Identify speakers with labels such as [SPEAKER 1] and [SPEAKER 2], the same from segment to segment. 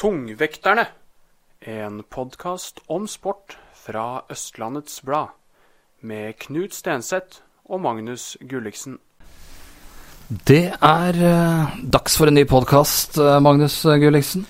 [SPEAKER 1] Tungvekterne, en podkast om sport fra Østlandets Blad, med Knut Stenseth og Magnus Gulliksen.
[SPEAKER 2] Det er eh, dags for en ny podkast, Magnus Gulliksen.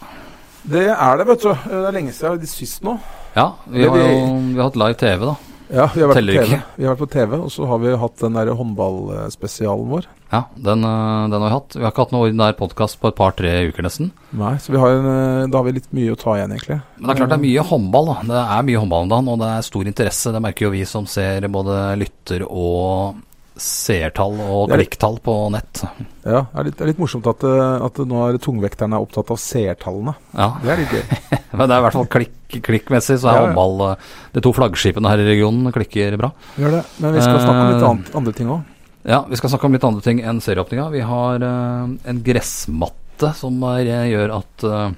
[SPEAKER 3] Det er det, vet du. Det er lenge siden sist nå.
[SPEAKER 2] Ja, vi
[SPEAKER 3] Det
[SPEAKER 2] har jo
[SPEAKER 3] blir-
[SPEAKER 2] vi har hatt live TV, da.
[SPEAKER 3] Ja, vi har vært,
[SPEAKER 2] Teller
[SPEAKER 3] på TV.
[SPEAKER 2] ikke.
[SPEAKER 3] Vi har vært på TV, og så har vi hatt den der håndballspesialen vår.
[SPEAKER 2] Ja, den, eh, den har vi hatt. Vi har ikke hatt noen ordinær podkast på et par-tre uker, nesten.
[SPEAKER 3] Nei, så vi har en, eh, da har vi litt mye å ta igjen, egentlig.
[SPEAKER 2] Men det er klart det er mye håndball, da. Det er mye håndball om dagen, og det er stor interesse. Det merker jo vi som ser både lytter- og seertall og
[SPEAKER 3] Det er-
[SPEAKER 2] klikktall på nett.
[SPEAKER 3] Ja, det er litt, det er litt morsomt at, eh, at nå er tungvekterne opptatt av seertallene.
[SPEAKER 2] Ja,
[SPEAKER 3] Det er litt gøy.
[SPEAKER 2] men det er i hvert fall klikk, klikkmessig, så er
[SPEAKER 3] Ja, ja.
[SPEAKER 2] håndball eh, De to flaggskipene her i regionen klikker bra.
[SPEAKER 3] Gjør det. Men vi skal snakke om litt
[SPEAKER 2] Eh,
[SPEAKER 3] annet, andre ting òg.
[SPEAKER 2] Ja, vi skal snakke om litt andre ting enn serieåpninga. Vi har eh, en gressmatte som er, gjør at uh,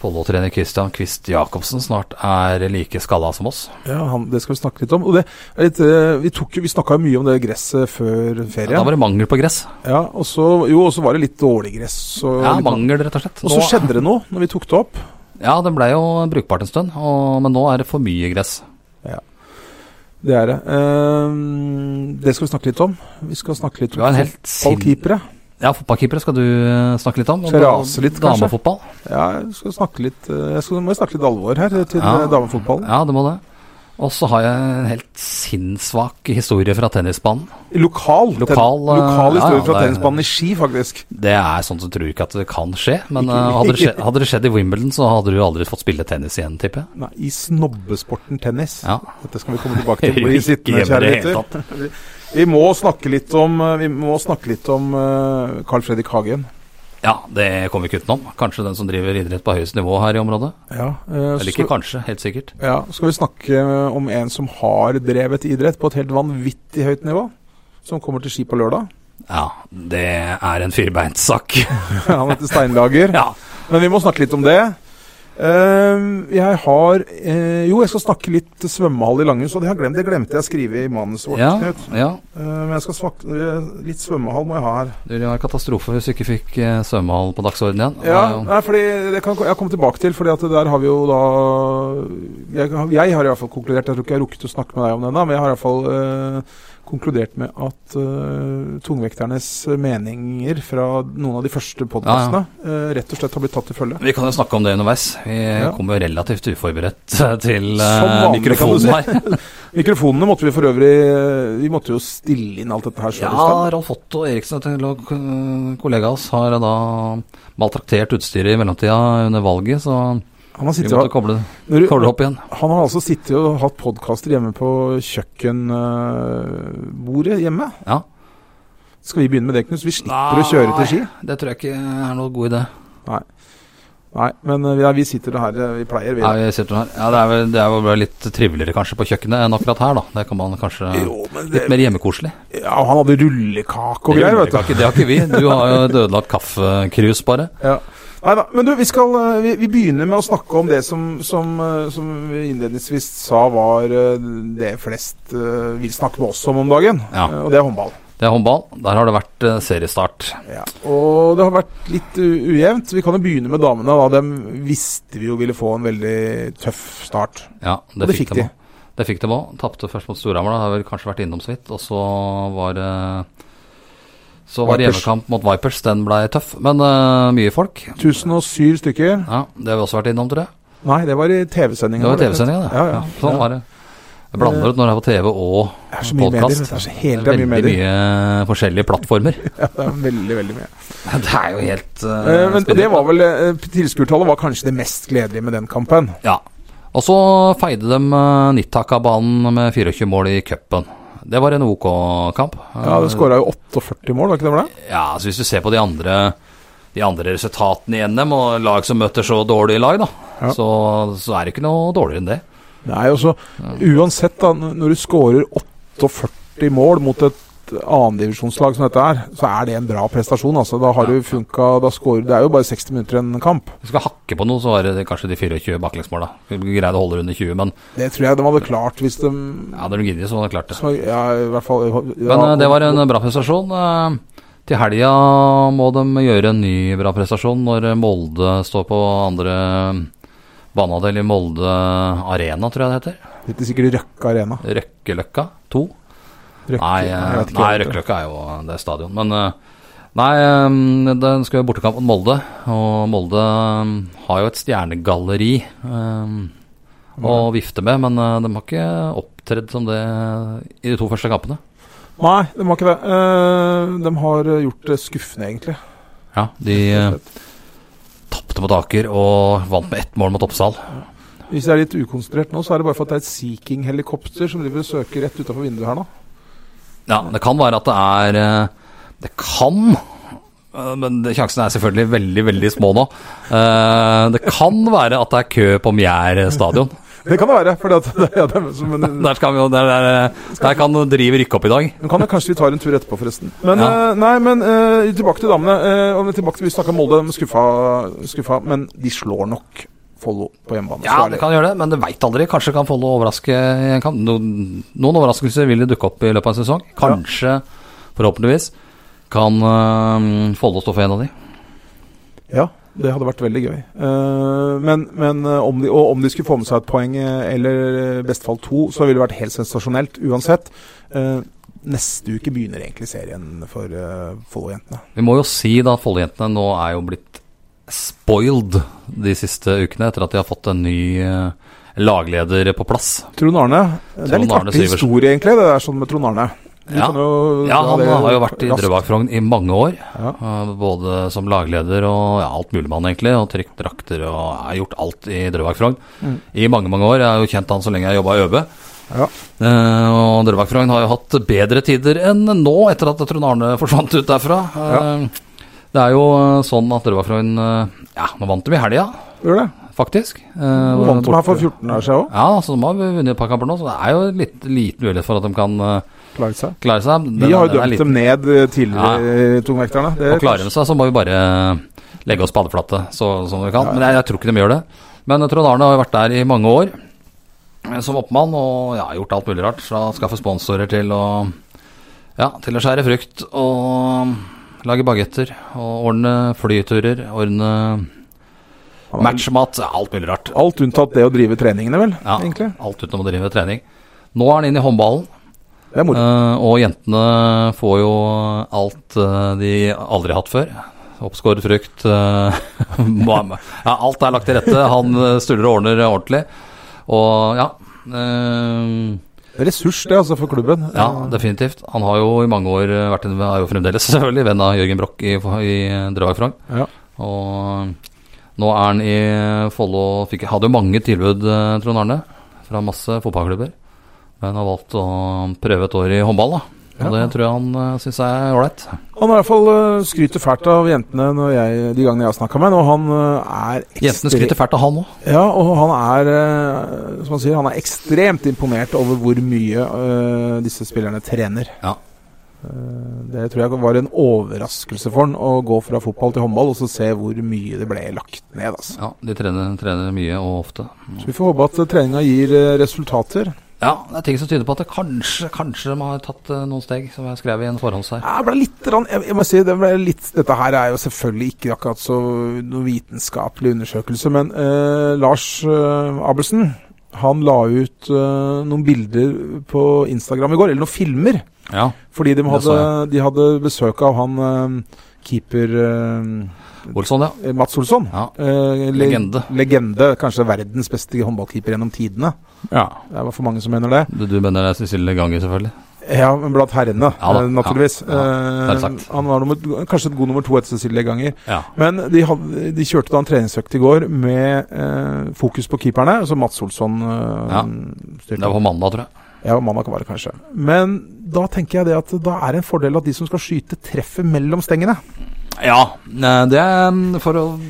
[SPEAKER 2] Follo-trener Christian Quist Jacobsen snart er like skalla som oss.
[SPEAKER 3] Ja, han, det skal vi snakke litt om. Og det er litt, eh, vi tok jo- vi snakka jo mye om det gresset før
[SPEAKER 2] Ja, da
[SPEAKER 3] ferien.
[SPEAKER 2] var det mangel på gress.
[SPEAKER 3] Ja, og så, jo, og så var det litt dårlig gress. Og,
[SPEAKER 2] Ja,
[SPEAKER 3] litt- sånn.
[SPEAKER 2] mangel, rett og slett.
[SPEAKER 3] og så
[SPEAKER 2] Nå-
[SPEAKER 3] skjedde det noe når vi tok det opp.
[SPEAKER 2] Ja, den ble jo brukbart en stund, og, men nå er det for mye gress.
[SPEAKER 3] Det er det. Ehm, det skal vi snakke litt om. Vi skal snakke litt
[SPEAKER 2] Vi
[SPEAKER 3] om
[SPEAKER 2] har en helt sin...
[SPEAKER 3] fotballkeepere.
[SPEAKER 2] Ja, fotballkeepere skal du eh, snakke litt om. og
[SPEAKER 3] Skal rase litt, kanskje?
[SPEAKER 2] Damefotball.
[SPEAKER 3] Ja, jeg skal snakke litt eh, Jeg skal, må snakke litt alvor her eh, til
[SPEAKER 2] Ja.
[SPEAKER 3] eh, damefotballen.
[SPEAKER 2] Ja, det må det. Og så har jeg en helt sinnssvak historie fra tennisbanen.
[SPEAKER 3] Lokal, ten-
[SPEAKER 2] Lokal, eh,
[SPEAKER 3] lokal
[SPEAKER 2] ja,
[SPEAKER 3] historie
[SPEAKER 2] ja, det
[SPEAKER 3] fra
[SPEAKER 2] er-
[SPEAKER 3] tennisbanen i Ski, faktisk.
[SPEAKER 2] Det er sånn som tror ikke at det kan skje, men eh, hadde, det skjedd, hadde det skjedd i Wimbledon, så hadde du aldri fått spille tennis igjen, tipper jeg.
[SPEAKER 3] Nei, I snobbesporten tennis.
[SPEAKER 2] Ja.
[SPEAKER 3] Dette skal vi komme tilbake til.
[SPEAKER 2] Hører
[SPEAKER 3] Bli
[SPEAKER 2] ikke hjemme
[SPEAKER 3] sittende,
[SPEAKER 2] i
[SPEAKER 3] kjære
[SPEAKER 2] det hele
[SPEAKER 3] lytter. Vi må snakke litt om eh, Vi må snakke litt om eh, Carl Fredrik Hagen.
[SPEAKER 2] Ja, det kommer vi ikke utenom. Kanskje den som driver idrett på høyest nivå her i området.
[SPEAKER 3] Ja,
[SPEAKER 2] Eller
[SPEAKER 3] eh, så-
[SPEAKER 2] ikke kanskje, helt sikkert.
[SPEAKER 3] Ja, så skal vi snakke eh, om en som har drevet idrett på et helt vanvittig høyt nivå. Som kommer til ski på lørdag.
[SPEAKER 2] Ja, det er en firbeinssak.
[SPEAKER 3] Han heter Steinlager.
[SPEAKER 2] ja.
[SPEAKER 3] Men vi må snakke litt om det. Ehm, jeg har eh, Jo, jeg skal snakke litt svømmehall i Langhus. Og det, har jeg glemt, det glemte jeg å skrive i manuset vårt.
[SPEAKER 2] ja,
[SPEAKER 3] Knut.
[SPEAKER 2] ja.
[SPEAKER 3] Eh, men jeg skal snakke eh, litt svømmehall må jeg ha her.
[SPEAKER 2] Det ville vært katastrofe hvis du ikke fikk eh, svømmehall på dagsordenen igjen.
[SPEAKER 3] Ja,
[SPEAKER 2] Det er jo-
[SPEAKER 3] nei, fordi det kan jeg komme tilbake til, Fordi at der har vi jo da Jeg, jeg har i hvert fall konkludert Jeg tror ikke jeg har rukket å snakke med deg om det ennå, men jeg har i hvert fall eh, konkludert med at eh, tungvekternes meninger fra noen av de første podkastene eh, rett og slett har blitt tatt til følge.
[SPEAKER 2] Vi kan jo snakke om det underveis. Vi
[SPEAKER 3] Ja.
[SPEAKER 2] kommer jo relativt uforberedt eh, til eh,
[SPEAKER 3] Som vanlig, kan du si.
[SPEAKER 2] mikrofonen her.
[SPEAKER 3] Mikrofonene måtte vi for øvrig eh, Vi måtte jo stille inn alt dette her sjøl
[SPEAKER 2] Ja, Ralf Otto Eriksen, en eh, kollega av oss, har da maltraktert utstyret i mellomtida under valget, så
[SPEAKER 3] Han har
[SPEAKER 2] vi
[SPEAKER 3] sittet
[SPEAKER 2] måtte
[SPEAKER 3] og
[SPEAKER 2] koble,
[SPEAKER 3] når
[SPEAKER 2] koble
[SPEAKER 3] du-
[SPEAKER 2] opp igjen.
[SPEAKER 3] han har altså sittet og hatt podkaster hjemme på kjøkkenbordet hjemme.
[SPEAKER 2] Ja.
[SPEAKER 3] Skal vi begynne med det, Knut? Så vi slipper å kjøre til Ski?
[SPEAKER 2] Det tror jeg ikke er noen god idé.
[SPEAKER 3] Nei, men eh, vi, er- vi sitter her eh, vi pleier, vi.
[SPEAKER 2] Ja, vi sitter her. Ja, det er vel det er vel bare litt triveligere kanskje på kjøkkenet enn akkurat her, da. Det kan man kanskje
[SPEAKER 3] Jo, men det,
[SPEAKER 2] Litt mer hjemmekoselig.
[SPEAKER 3] ja, og han hadde rullekake og greier,
[SPEAKER 2] det,
[SPEAKER 3] vet
[SPEAKER 2] har
[SPEAKER 3] du.
[SPEAKER 2] ikke, det har ikke vi. Du har jo et ødelagt kaffekrus, bare.
[SPEAKER 3] Ja. Nei da, men du, vi skal eh, vi, vi begynner med å snakke om det som, som, eh, som vi innledningsvis sa var eh, det flest eh, vil snakke med oss om om dagen,
[SPEAKER 2] Ja.
[SPEAKER 3] Eh, og det er håndball.
[SPEAKER 2] Det er håndball. Der har det vært eh, seriestart.
[SPEAKER 3] Ja. Og det har vært litt u- ujevnt. Vi kan jo begynne med damene. da Dem visste vi jo ville få en veldig tøff start.
[SPEAKER 2] Ja, det,
[SPEAKER 3] Og det
[SPEAKER 2] fikk
[SPEAKER 3] fikk
[SPEAKER 2] de.
[SPEAKER 3] de.
[SPEAKER 2] også. Det fikk de òg. Tapte først mot Storhamar, da. har vel kanskje vært innom så vidt. Og så var det Så var det
[SPEAKER 3] Vipers.
[SPEAKER 2] hjemmekamp mot Vipers, den blei tøff. Men eh, mye folk.
[SPEAKER 3] 1007 stykker.
[SPEAKER 2] Ja, Det har vi også vært innom, tror jeg.
[SPEAKER 3] Nei, det var i
[SPEAKER 2] Det
[SPEAKER 3] TV-sendinga.
[SPEAKER 2] var TV-sendinga, det.
[SPEAKER 3] Ja, ja.
[SPEAKER 2] sånn
[SPEAKER 3] Ja.
[SPEAKER 2] var det. Jeg blander ut når det er på TV og
[SPEAKER 3] Det er så mye medier. vet du. Det er så helt det er
[SPEAKER 2] veldig
[SPEAKER 3] mye
[SPEAKER 2] mye, eh,
[SPEAKER 3] medier.
[SPEAKER 2] forskjellige plattformer.
[SPEAKER 3] Ja, det er veldig, veldig mye.
[SPEAKER 2] det er jo helt eh,
[SPEAKER 3] Eh, men
[SPEAKER 2] spinnvilt,
[SPEAKER 3] det
[SPEAKER 2] da.
[SPEAKER 3] var vel eh, Tilskuertallet var kanskje det mest gledelige med den kampen.
[SPEAKER 2] Ja. Og så feide de eh, Nittaka-banen med 24 mål i cupen. Det var en OK kamp.
[SPEAKER 3] Ja, Det skåra jo 48 mål, var ikke det? var det?
[SPEAKER 2] Ja, altså hvis du ser på de andre de andre resultatene i NM, og lag som møter så dårlige lag, da,
[SPEAKER 3] Ja.
[SPEAKER 2] så, så er det ikke noe dårligere enn det.
[SPEAKER 3] Nei, også, uansett, da, n- når du scorer 48 mål mot et annendivisjonslag som dette er, så er det en bra prestasjon. Altså. Da har du funka da scorer, Det er jo bare 60 minutter i en kamp.
[SPEAKER 2] Hvis du skal hakke på noe, så er det kanskje de 24 baklengsmåla. Greide å holde det under 20, men
[SPEAKER 3] Det tror jeg de hadde klart hvis de
[SPEAKER 2] ja, hadde de giddet, så hadde de klart det.
[SPEAKER 3] så, ja, i hvert fall ja,
[SPEAKER 2] Men eh, det var en bra prestasjon. Eh, Til helga må de gjøre en ny bra prestasjon når eh, Molde står på andre banehalvdel i Molde Arena, tror jeg det heter.
[SPEAKER 3] Heter sikkert Røkke Arena.
[SPEAKER 2] Røkkeløkka 2.
[SPEAKER 3] Røkke,
[SPEAKER 2] Nei,
[SPEAKER 3] jeg
[SPEAKER 2] eh,
[SPEAKER 3] vet ikke
[SPEAKER 2] nei
[SPEAKER 3] hva det heter.
[SPEAKER 2] Røkkeløkka er jo det er stadion. Men eh, nei, eh, den skal jo bortekamp mot Molde, og Molde eh, har jo et stjernegalleri eh, å vifte med, men eh, de har ikke opptredd som det i de to første kampene.
[SPEAKER 3] Nei, de har ikke det. Eh, de har eh, gjort det skuffende, egentlig.
[SPEAKER 2] Ja, de eh, tapte mot Aker og vant med ett mål mot Oppsal.
[SPEAKER 3] Hvis jeg er litt ukonsentrert nå, så er det bare for at det er et Sea King-helikopter som driver og søker rett utafor vinduet her nå.
[SPEAKER 2] Ja, det kan være at det er eh, Det kan eh, men det- sjansen er selvfølgelig veldig veldig små nå. Eh, Det kan være at det er kø på Mjær stadion.
[SPEAKER 3] Det kan det være. Fordi at det, ja, det, er som en-
[SPEAKER 2] Der, skal vi, jo- der, der, eh, der kan Drive rykke opp i dag.
[SPEAKER 3] Men kan det, kanskje vi tar en tur etterpå, forresten. Men,
[SPEAKER 2] Ja.
[SPEAKER 3] eh, nei, men eh, tilbake til damene. eh, og tilbake til, vi snakka Molde, de skuffa, skuffa, men de slår nok Follo på hjemmebane.
[SPEAKER 2] Ja,
[SPEAKER 3] Så er
[SPEAKER 2] det kan gjøre det, men det veit aldri. Kanskje kan Follo overraske i en kamp. Noen, noen overraskelser vil det dukke opp i løpet av en sesong. Kanskje, forhåpentligvis, kan eh, Follo stå for en av de.
[SPEAKER 3] ja, det hadde vært veldig gøy. Eh, men men eh, om de, og om de skulle få med seg et poeng, eh, eller i beste fall to, så ville det vært helt sensasjonelt uansett. Eh, neste uke begynner egentlig serien for eh, Follo-jentene.
[SPEAKER 2] Vi må jo si da at Follo-jentene nå er jo blitt spoiled de siste ukene, etter at de har fått en ny eh, lagleder på plass.
[SPEAKER 3] Trond Arne. eh, Det
[SPEAKER 2] Trond
[SPEAKER 3] er litt
[SPEAKER 2] Arne
[SPEAKER 3] artig
[SPEAKER 2] Syversen.
[SPEAKER 3] historie, egentlig, det der sånn med Trond Arne. Vi
[SPEAKER 2] Ja.
[SPEAKER 3] kan jo
[SPEAKER 2] Ja,
[SPEAKER 3] dra
[SPEAKER 2] han
[SPEAKER 3] det
[SPEAKER 2] har jo vært i
[SPEAKER 3] raskt.
[SPEAKER 2] Drøbak Frogn i mange år.
[SPEAKER 3] Ja.
[SPEAKER 2] eh, Både som lagleder og ja, alt mulig mann, egentlig. Og trykt drakter og har gjort alt i Drøbak Frogn
[SPEAKER 3] Mm.
[SPEAKER 2] i mange, mange år. Jeg har jo kjent han så lenge jeg jobba i ØB.
[SPEAKER 3] Ja.
[SPEAKER 2] Eh, og Drøbak Frogn har jo hatt bedre tider enn nå, etter at Trond Arne forsvant ut derfra. Eh, Det er jo eh, sånn at Drøbak Frogn eh, Ja, nå vant de i helga,
[SPEAKER 3] Gjør det.
[SPEAKER 2] faktisk. Eh,
[SPEAKER 3] Hun vant dem her for
[SPEAKER 2] borte-
[SPEAKER 3] 14 år siden òg.
[SPEAKER 2] Ja, så de har vunnet et par kamper nå, så det er jo litt liten mulighet for at de kan eh,
[SPEAKER 3] Klarer seg.
[SPEAKER 2] klare seg. Den-
[SPEAKER 3] Vi har jo
[SPEAKER 2] den er liten.
[SPEAKER 3] dømt dem ned eh, tidligere, eh, tungvekterne. Det,
[SPEAKER 2] Og klarer de seg, så må vi bare legge oss på adeflate så, som vi kan.
[SPEAKER 3] Ja.
[SPEAKER 2] Men jeg, jeg tror ikke de gjør det. Men Trond Arne har jo vært der i mange år eh, som oppmann og ja, gjort alt mulig rart. Fra å skaffe sponsorer til å, ja, til å skjære frukt og lage bagetter. Og ordne flyturer, ordne
[SPEAKER 3] Han har-
[SPEAKER 2] matchmat. ja, Alt mulig rart.
[SPEAKER 3] Alt unntatt det å drive treningene, vel.
[SPEAKER 2] Ja,
[SPEAKER 3] egentlig.
[SPEAKER 2] alt utenom å drive trening. Nå er han inne i håndballen,
[SPEAKER 3] Det er moro.
[SPEAKER 2] eh, og jentene får jo alt eh, de aldri har hatt før. Oppskåret frukt. eh, hva- ja, alt er lagt til rette. Han eh, stuller og ordner ordentlig. Og ja eh,
[SPEAKER 3] Ressurs, det, altså, for klubben.
[SPEAKER 2] Ja, definitivt. Han har jo i mange år eh, vært en, er jo fremdeles selvfølgelig venn av Jørgen Broch i, i Drøbak Frogn.
[SPEAKER 3] Ja.
[SPEAKER 2] Og nå er han i Follo fikk, Hadde jo mange tilbud, eh, Trond Arne, fra masse fotballklubber. Men har valgt å prøve et år i håndball, da. Og
[SPEAKER 3] Ja.
[SPEAKER 2] det tror jeg han syns er ålreit.
[SPEAKER 3] Han har i hvert fall eh, skryter fælt av jentene når jeg, de gangene jeg har snakka med ham, og han eh, er
[SPEAKER 2] Jentene
[SPEAKER 3] ekstre-
[SPEAKER 2] skryter fælt av han òg.
[SPEAKER 3] Ja, og han er, eh, som han sier, han er ekstremt imponert over hvor mye eh, disse spillerne trener.
[SPEAKER 2] Ja.
[SPEAKER 3] Eh, Det tror jeg var en overraskelse for han å gå fra fotball til håndball og så se hvor mye det ble lagt ned. Altså.
[SPEAKER 2] Ja, de trener, trener mye og ofte.
[SPEAKER 3] Så vi får håpe at eh, treninga gir eh, resultater.
[SPEAKER 2] Ja, det er ting som tyder på at det kanskje, kanskje de har tatt eh, noen steg, som jeg skrev i en forhånds her.
[SPEAKER 3] Ja, Jeg ble litt, rann- jeg jeg må si, det ble litt Dette her er jo selvfølgelig ikke akkurat så noen vitenskapelig undersøkelse, men eh, Lars eh, Abelsen han la ut eh, noen bilder på Instagram i går, eller noen filmer,
[SPEAKER 2] Ja.
[SPEAKER 3] fordi de
[SPEAKER 2] Det så
[SPEAKER 3] hadde, de hadde besøk av han eh, keeper
[SPEAKER 2] Olsson, ja.
[SPEAKER 3] eh, Mats Olsson.
[SPEAKER 2] Ja.
[SPEAKER 3] Eh, le-
[SPEAKER 2] Legende.
[SPEAKER 3] legende. Kanskje verdens beste håndballkeeper gjennom tidene.
[SPEAKER 2] ja.
[SPEAKER 3] Det er i hvert fall mange som mener det.
[SPEAKER 2] Du, du mener det er Cecilie Ganger, selvfølgelig.
[SPEAKER 3] Ja, men blant herrene,
[SPEAKER 2] Ja da,
[SPEAKER 3] eh, naturligvis.
[SPEAKER 2] ja, ja,
[SPEAKER 3] Eh,
[SPEAKER 2] selvsagt.
[SPEAKER 3] han var nummer, kanskje et god nummer to etter Cecilie Ganger.
[SPEAKER 2] Ja.
[SPEAKER 3] Men de, hadde, de kjørte da en treningsøkt i går med eh, fokus på keeperne, altså Mats Olsson eh,
[SPEAKER 2] Ja. Det
[SPEAKER 3] styrte.
[SPEAKER 2] var på mandag, tror jeg.
[SPEAKER 3] Ja, mandag var det kanskje. Men da tenker jeg det at da er det en fordel at de som skal skyte, treffer mellom stengene.
[SPEAKER 2] Ja, eh, det er mm, for å,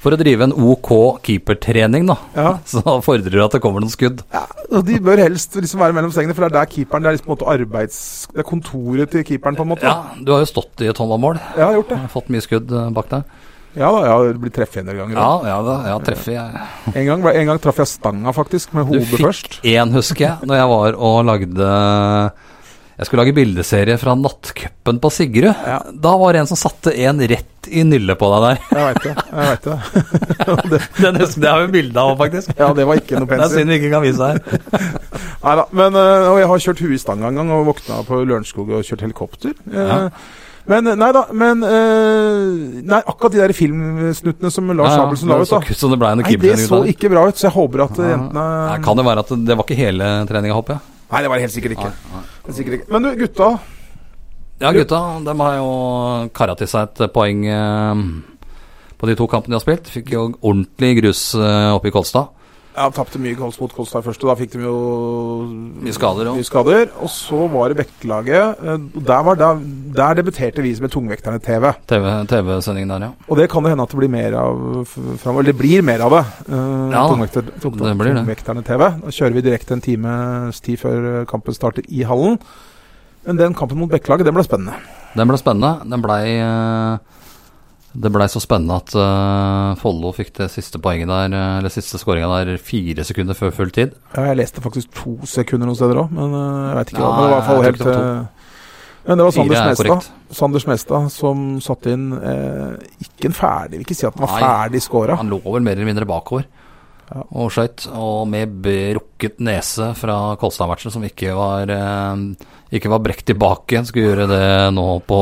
[SPEAKER 2] for å drive en OK keepertrening, da.
[SPEAKER 3] Ja.
[SPEAKER 2] Så fordrer det at det kommer noen skudd.
[SPEAKER 3] Og de bør helst liksom være mellom stengene, for det er der keeperen Det er liksom på en måte arbeids... Det er kontoret til keeperen, på en måte.
[SPEAKER 2] Ja, Du har jo stått i et håndballmål.
[SPEAKER 3] Jeg har gjort det.
[SPEAKER 2] Fått mye skudd eh, bak deg.
[SPEAKER 3] Ja da, jeg har blitt treffet en del ganger.
[SPEAKER 2] Ja, ja, da- ja treffer jeg.
[SPEAKER 3] En, gang, ble- en gang traff jeg stanga, faktisk, med
[SPEAKER 2] Du
[SPEAKER 3] hodet
[SPEAKER 2] fikk-
[SPEAKER 3] først.
[SPEAKER 2] Én husker jeg, når jeg var og lagde Jeg skulle lage bildeserie fra nattcupen på Sigrud.
[SPEAKER 3] Ja.
[SPEAKER 2] Da var det en som satte en rett i nyllet på deg der.
[SPEAKER 3] Jeg veit det. jeg vet det.
[SPEAKER 2] Den husker det har vi bilde av, faktisk.
[SPEAKER 3] Ja, det var ikke noe
[SPEAKER 2] Det er
[SPEAKER 3] pensel.
[SPEAKER 2] synd vi ikke kan vise her.
[SPEAKER 3] Nei da. Men øh, og jeg har kjørt huet i stanga en gang, og våkna på Lørenskog og kjørt helikopter. Eh,
[SPEAKER 2] Ja.
[SPEAKER 3] Men øh, nei da. Men øh, Nei, akkurat de der filmsnuttene som Lars
[SPEAKER 2] Ja, ja,
[SPEAKER 3] Abelsen la
[SPEAKER 2] det
[SPEAKER 3] ut,
[SPEAKER 2] så
[SPEAKER 3] da.
[SPEAKER 2] kutt som det ble en
[SPEAKER 3] Nei, det
[SPEAKER 2] keepertrening ut
[SPEAKER 3] så
[SPEAKER 2] av det.
[SPEAKER 3] ikke bra ut, så jeg håper at øh,
[SPEAKER 2] Ja.
[SPEAKER 3] jentene
[SPEAKER 2] Nei, Kan det være at det var ikke hele treninga, håper jeg.
[SPEAKER 3] Nei, det var det helt sikkert ikke. Det er sikkert ikke. Men du, gutta.
[SPEAKER 2] Ja, gutta de har jo kara til seg et poeng eh, på de to kampene de har spilt. Fikk jo ordentlig grus eh, oppe i Kolstad.
[SPEAKER 3] Ja, tapte mye goals mot Kolstad først, og da fikk de jo
[SPEAKER 2] Mye skader òg.
[SPEAKER 3] mye skader. Og så var det Bekkelaget. eh, og Der, var, der, der debuterte vi med Tungvekterne TV.
[SPEAKER 2] TV-sendingen der, ja.
[SPEAKER 3] Og det kan det hende at det blir mer av f- framover. Eller det blir mer av det. eh,
[SPEAKER 2] Ja,
[SPEAKER 3] tungvekter, tung-
[SPEAKER 2] det blir det.
[SPEAKER 3] Tungvekterne TV. Da kjører vi direkte en times tid før eh, kampen starter i hallen. Men den kampen mot Bekkelaget, den ble spennende.
[SPEAKER 2] Den ble spennende. Den blei eh, Det blei så spennende at eh, Follo fikk det siste poenget der, eh, eller siste skåringa der, fire sekunder før full tid.
[SPEAKER 3] Ja, jeg leste faktisk to sekunder noen steder òg, men eh, jeg veit ikke.
[SPEAKER 2] Ja,
[SPEAKER 3] hva, men det var i hvert
[SPEAKER 2] jeg
[SPEAKER 3] fall
[SPEAKER 2] tror
[SPEAKER 3] helt
[SPEAKER 2] ikke det var
[SPEAKER 3] eh, men det var
[SPEAKER 2] Fire er
[SPEAKER 3] Sander Smestad,
[SPEAKER 2] korrekt.
[SPEAKER 3] Sander Smestad som satte inn eh, ikke en ferdig, vil ikke si at den var
[SPEAKER 2] Nei.
[SPEAKER 3] ferdig scora.
[SPEAKER 2] Han lå vel mer eller mindre bakover
[SPEAKER 3] Ja.
[SPEAKER 2] og skøyt. Og med brukket nese fra Kolstad-matchen, som ikke var, eh, ikke var brekt tilbake igjen. Skulle gjøre det nå på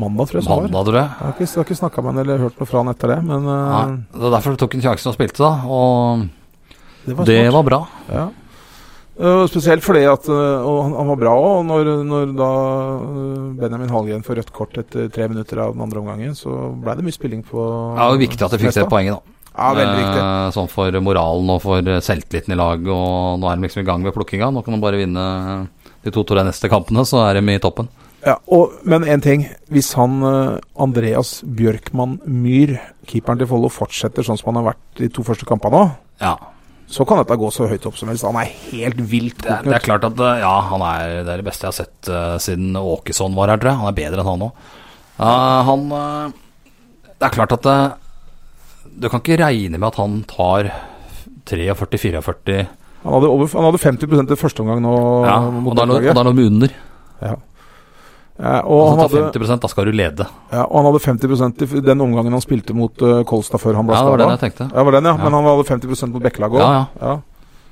[SPEAKER 3] Mandag, tror jeg. som var.
[SPEAKER 2] mandag, tror jeg.
[SPEAKER 3] Jeg har ikke, jeg har ikke snakka med han eller hørt noe fra han etter det, men eh,
[SPEAKER 2] Nei, det er derfor tok han sjansen og spilte, da. Og
[SPEAKER 3] det var
[SPEAKER 2] det
[SPEAKER 3] smart.
[SPEAKER 2] var bra.
[SPEAKER 3] Ja. Eh, spesielt fordi at eh, og han, han var bra òg. Når, når da eh, Benjamin Hallgren får rødt kort etter tre minutter av den andre omgangen, så ble det mye spilling på
[SPEAKER 2] Det var jo viktig at de fikk det
[SPEAKER 3] Smestad.
[SPEAKER 2] poenget, da.
[SPEAKER 3] Ja, veldig viktig.
[SPEAKER 2] Eh, Sånn for moralen og for selvtilliten i lag. Og nå er de liksom i gang med plukkinga. Nå kan de bare vinne de to-tre neste kampene, så er de i toppen.
[SPEAKER 3] Ja, og, men én ting. Hvis han eh, Andreas Bjørkmann Myhr, keeperen til Follo, fortsetter sånn som han har vært de to første kampene nå,
[SPEAKER 2] Ja.
[SPEAKER 3] så kan dette gå så høyt opp som helst. Han er helt vilt
[SPEAKER 2] Det er, det er klart at eh, ja, han er det, er det beste jeg har sett eh, siden Åkesson var her, tror jeg. Han er bedre enn han òg. han eh, Det er klart at eh, du kan ikke regne med at han tar 43-44
[SPEAKER 3] Han hadde, over, han hadde 50 til første omgang nå.
[SPEAKER 2] ja,
[SPEAKER 3] mot
[SPEAKER 2] og da er noe- og da
[SPEAKER 3] Norge.
[SPEAKER 2] altså, er noe under.
[SPEAKER 3] Ja. Eh, og
[SPEAKER 2] Hvis
[SPEAKER 3] han
[SPEAKER 2] du
[SPEAKER 3] hadde
[SPEAKER 2] tar 50 da skal du lede.
[SPEAKER 3] Ja, og han hadde 50 i f- den omgangen han spilte mot eh, Kolstad før han ble
[SPEAKER 2] Ja, det var det
[SPEAKER 3] skadet.
[SPEAKER 2] jeg tenkte.
[SPEAKER 3] Ja, var den, ja.
[SPEAKER 2] Ja.
[SPEAKER 3] Men han hadde 50 mot Bekkelaget òg.
[SPEAKER 2] Ja, ja.
[SPEAKER 3] ja.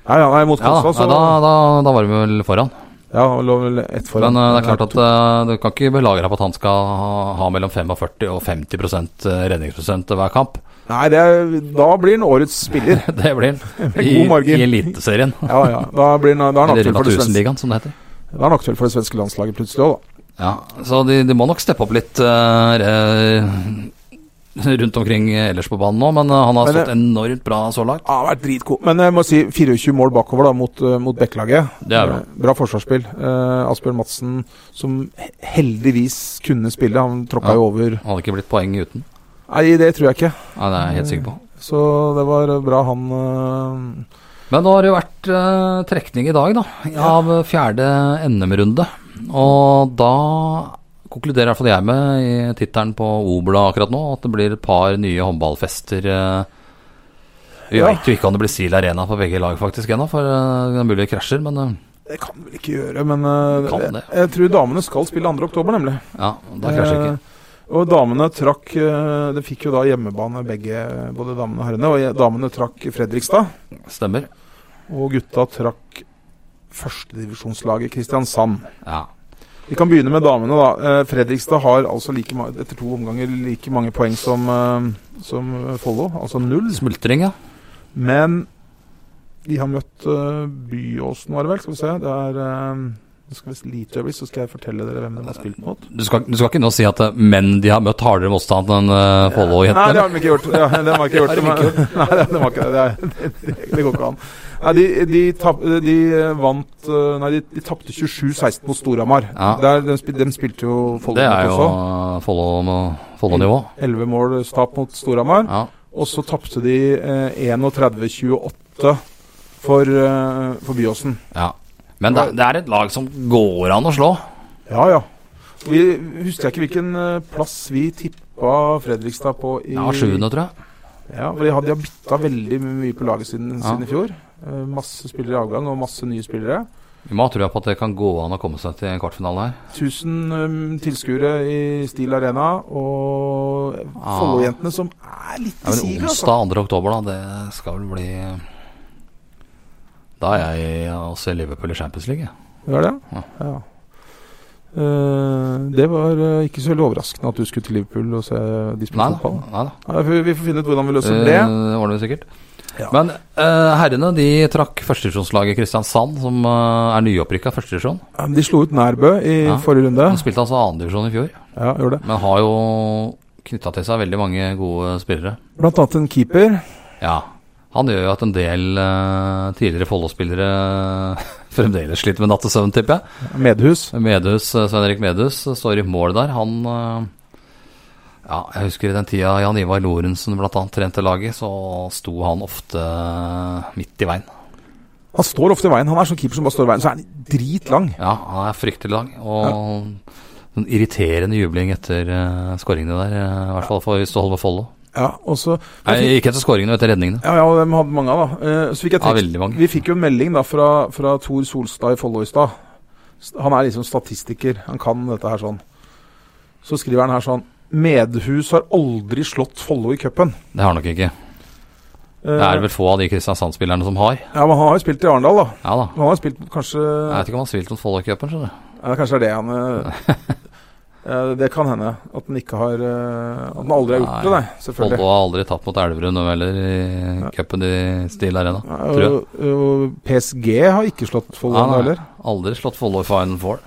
[SPEAKER 3] Nei, ja, nei, mot
[SPEAKER 2] Ja, da,
[SPEAKER 3] Kolstad,
[SPEAKER 2] ja, da, da, da var vi vel foran.
[SPEAKER 3] så Ja, han lå vel ett foran.
[SPEAKER 2] Men eh, det er klart at eh, du kan ikke belage deg på at han skal ha, ha mellom 45 og 50 redningsprosent hver kamp.
[SPEAKER 3] Nei, det er, da blir han årets spiller.
[SPEAKER 2] Det blir han
[SPEAKER 3] Med
[SPEAKER 2] i,
[SPEAKER 3] god margin.
[SPEAKER 2] i Eliteserien.
[SPEAKER 3] Ja, ja. Da, blir han, da er han
[SPEAKER 2] Eller
[SPEAKER 3] aktuell for, det svenske-
[SPEAKER 2] Natusenligaen, som det heter.
[SPEAKER 3] da er han aktuell for det svenske landslaget plutselig òg, da.
[SPEAKER 2] Ja, så de, de må nok steppe opp litt eh, re- rundt omkring ellers på banen nå, men eh, han har
[SPEAKER 3] Men det-
[SPEAKER 2] stått enormt bra så langt.
[SPEAKER 3] Ja, han har vært dritgod. Men jeg må si 24 mål bakover da mot, eh, mot Bekkelaget.
[SPEAKER 2] Det er bra.
[SPEAKER 3] Eh, Bra forsvarsspill. Eh, Asbjørn Madsen, som he- heldigvis kunne spille, han
[SPEAKER 2] Ja.
[SPEAKER 3] tråkka jo over
[SPEAKER 2] Han hadde ikke blitt poeng uten.
[SPEAKER 3] Nei, det tror jeg ikke.
[SPEAKER 2] Nei, det er jeg helt sikker på.
[SPEAKER 3] Så det var bra han eh,
[SPEAKER 2] Men nå har det jo vært eh, trekning i dag, da. Av eh, fjerde NM-runde. Og da konkluderer i hvert fall jeg med i tittelen på Obla akkurat nå, at det blir et par nye håndballfester. eh. Vi
[SPEAKER 3] Ja.
[SPEAKER 2] veit jo ikke om det blir Sil Arena på begge lag faktisk ennå, for eh, det er mulig det krasjer, men eh,
[SPEAKER 3] Det kan vi vel ikke gjøre, men eh,
[SPEAKER 2] Kan
[SPEAKER 3] jeg,
[SPEAKER 2] det.
[SPEAKER 3] jeg tror damene skal spille 2. oktober, nemlig.
[SPEAKER 2] ja, da krasjer det ikke.
[SPEAKER 3] Eh, og damene trakk eh, Det fikk jo da hjemmebane, begge, både damene og herrene. Og je- damene trakk Fredrikstad,
[SPEAKER 2] Stemmer.
[SPEAKER 3] og gutta trakk førstedivisjonslaget Kristiansand.
[SPEAKER 2] Ja.
[SPEAKER 3] Vi kan begynne med damene, da. Eh, Fredrikstad har altså like, ma- etter to omganger like mange poeng som, eh, som Follo, altså null.
[SPEAKER 2] Smultring, ja.
[SPEAKER 3] Men de har møtt eh, Byåsen, var det vel? Skal vi se. Det er eh, Nå skal vi lite øyeblikk, så skal jeg fortelle dere hvem de har spilt mot.
[SPEAKER 2] Du skal, du skal ikke nå si at eh, menn de har møtt hardere motstand enn eh,
[SPEAKER 3] Nei, det
[SPEAKER 2] Follo-jentene?
[SPEAKER 3] har de ikke gjort. Ja, de har ikke gjort.
[SPEAKER 2] Det har de
[SPEAKER 3] det, men- Nei, det har de har ikke det. Det, er- det, det går ikke an. Nei, de, de, tap, de vant eh, Nei, de, de tapte 27-16 mot Storhamar.
[SPEAKER 2] Ja.
[SPEAKER 3] Der, de, spil, de spilte jo Follo
[SPEAKER 2] det er
[SPEAKER 3] mot
[SPEAKER 2] jo
[SPEAKER 3] også.
[SPEAKER 2] eh, Follo- Follo-nivå.
[SPEAKER 3] 11 mål eh, tap mot Storhamar.
[SPEAKER 2] Ja.
[SPEAKER 3] Og så tapte de eh, 31-28 for, eh, for Byåsen.
[SPEAKER 2] ja. Men det, det er et lag som går an å slå.
[SPEAKER 3] Ja, ja. Vi husker jeg ikke hvilken eh, plass vi tippa Fredrikstad på i
[SPEAKER 2] Ja, sjuende, tror jeg.
[SPEAKER 3] Ja, for de har, de har bytta veldig mye på laget siden,
[SPEAKER 2] Ja.
[SPEAKER 3] siden i fjor. Eh, masse spillere i avgang og masse nye spillere.
[SPEAKER 2] Vi må ha trua på at det kan gå an å komme seg til en kvartfinale her.
[SPEAKER 3] 1000 um, tilskuere i Steel Arena, og
[SPEAKER 2] Ah.
[SPEAKER 3] Follo-jentene som er litt
[SPEAKER 2] Ja,
[SPEAKER 3] i
[SPEAKER 2] men
[SPEAKER 3] siget, altså.
[SPEAKER 2] onsdag 2. oktober, da. Det skal vel bli eh, Da er jeg også i Liverpool i Champions League. jeg.
[SPEAKER 3] Det var det?
[SPEAKER 2] Ja.
[SPEAKER 3] Ja. Eh, det var eh, ikke så veldig overraskende at du skulle til Liverpool og se de spille
[SPEAKER 2] Nei da.
[SPEAKER 3] fotball.
[SPEAKER 2] Nei da.
[SPEAKER 3] Ja, vi, vi får finne ut hvordan vi løser det.
[SPEAKER 2] Eh, ordner vi sikkert.
[SPEAKER 3] Ja.
[SPEAKER 2] Men eh, herrene de trakk førstedivisjonslaget Kristiansand, som eh, er nyopprykka førstedivisjon.
[SPEAKER 3] Ja, men De slo ut Nærbø i
[SPEAKER 2] Ja.
[SPEAKER 3] forrige runde.
[SPEAKER 2] De spilte altså andredivisjon i fjor,
[SPEAKER 3] Ja, gjorde det.
[SPEAKER 2] men har jo knytta til seg veldig mange gode spillere.
[SPEAKER 3] Blant annet en keeper.
[SPEAKER 2] Ja. Han gjør jo at en del eh, tidligere Follo-spillere fremdeles sliter med nattesøvn, tipper jeg.
[SPEAKER 3] Medhus.
[SPEAKER 2] Medhus, eh, Svein-Erik Medhus eh, står i mål der. Han eh, Ja, jeg husker i den tida Jan Ivar Lorentzen bl.a. trente laget, så sto han ofte eh, midt i veien.
[SPEAKER 3] Han står ofte i veien. Han er sånn keeper som bare står i veien. Så er han dritlang.
[SPEAKER 2] Ja, han er fryktelig lang. Og sånn irriterende jubling etter eh, skåringene der. eh, I hvert fall for hvis du holder med Follo.
[SPEAKER 3] Ja, og så
[SPEAKER 2] Nei, ikke etter skåringene, men etter redningene.
[SPEAKER 3] Ja, ja, og dem hadde mange av, da. Eh, Så fikk
[SPEAKER 2] Ja,
[SPEAKER 3] jeg tekst.
[SPEAKER 2] veldig mange.
[SPEAKER 3] Vi fikk jo en melding da fra, fra Tor Solstad i Follo i stad. St- Han er liksom statistiker. Han kan dette her sånn. Så skriver han her sånn Medhus har aldri slått Follo i cupen. Eh,
[SPEAKER 2] Det har han nok ikke. Det er vel få av de Kristiansand-spillerne som har.
[SPEAKER 3] Ja, men han har jo spilt i Arendal, da.
[SPEAKER 2] Ja da.
[SPEAKER 3] Men Han har spilt kanskje
[SPEAKER 2] Jeg vet ikke om han spilte mot Follo-cupen, skjønner du.
[SPEAKER 3] ja, Kanskje det er det han eh, eh, Det kan hende. At han ikke har eh, At han aldri har gjort det,
[SPEAKER 2] Nei.
[SPEAKER 3] nei. Selvfølgelig.
[SPEAKER 2] Follo har aldri tapt mot Elverum nå heller i cupen i Steel Arena.
[SPEAKER 3] Ja,
[SPEAKER 2] tror jeg. Ah,
[SPEAKER 3] og, og PSG har ikke slått Follo
[SPEAKER 2] Nei, nei.
[SPEAKER 3] heller.
[SPEAKER 2] Aldri slått Follo i Final Four.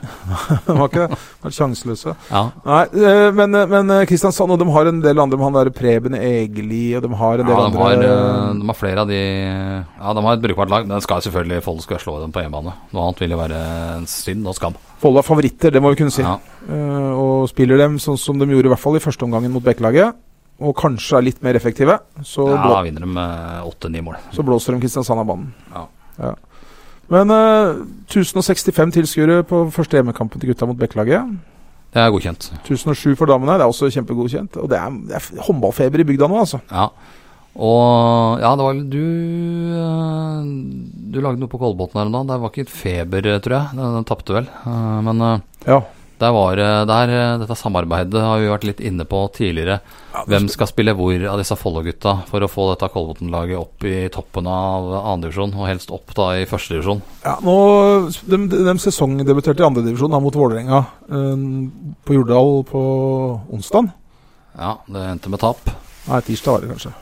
[SPEAKER 3] De har ikke det. De er sjanseløse.
[SPEAKER 2] Ja.
[SPEAKER 3] Nei, eh, men, men eh, Kristiansand og de har en del andre. men Han der Preben Egeli og de har
[SPEAKER 2] Ja, de
[SPEAKER 3] en del
[SPEAKER 2] har,
[SPEAKER 3] andre.
[SPEAKER 2] eh, de har flere av de Ja, de har et brukbart lag. Den skal selvfølgelig Follo skal slå dem på hjemmebane. Noe annet vil jo være en synd og skam.
[SPEAKER 3] Follo er favoritter, det må vi kunne si.
[SPEAKER 2] Ja.
[SPEAKER 3] Eh, og spiller dem sånn som de gjorde i hvert fall i første omgangen mot Bekkelaget. Og kanskje er litt mer effektive. Så,
[SPEAKER 2] Ja,
[SPEAKER 3] blå,
[SPEAKER 2] vinner de med åtte-ni mål.
[SPEAKER 3] så blåser de Kristiansand av banen.
[SPEAKER 2] Ja.
[SPEAKER 3] Ja. Men eh, 1065 tilskuere på første hjemmekampen til gutta mot Bekkelaget.
[SPEAKER 2] Det er godkjent.
[SPEAKER 3] 1007 for damene, det er også kjempegodkjent. Og det er, det er f- håndballfeber i bygda nå, altså.
[SPEAKER 2] Ja. Og ja, det var du eh, Du lagde noe på Kolbotn her om dagen. Det var ikke et feber, eh, tror jeg. Den, den tapte vel. Eh, Men eh,
[SPEAKER 3] Ja.
[SPEAKER 2] der var det- der, eh, Dette samarbeidet har vi vært litt inne på tidligere. Hvem skal spille hvor av disse Follo-gutta for å få dette Kolbotn-laget opp i toppen av andredivisjon, og helst opp da i førstedivisjon?
[SPEAKER 3] Ja, nå, de, de sesongdebuterte i andredivisjon mot Vålerenga eh, på Jordal på onsdag.
[SPEAKER 2] Ja, det endte med tap.
[SPEAKER 3] Nei, tirsdag var det kanskje.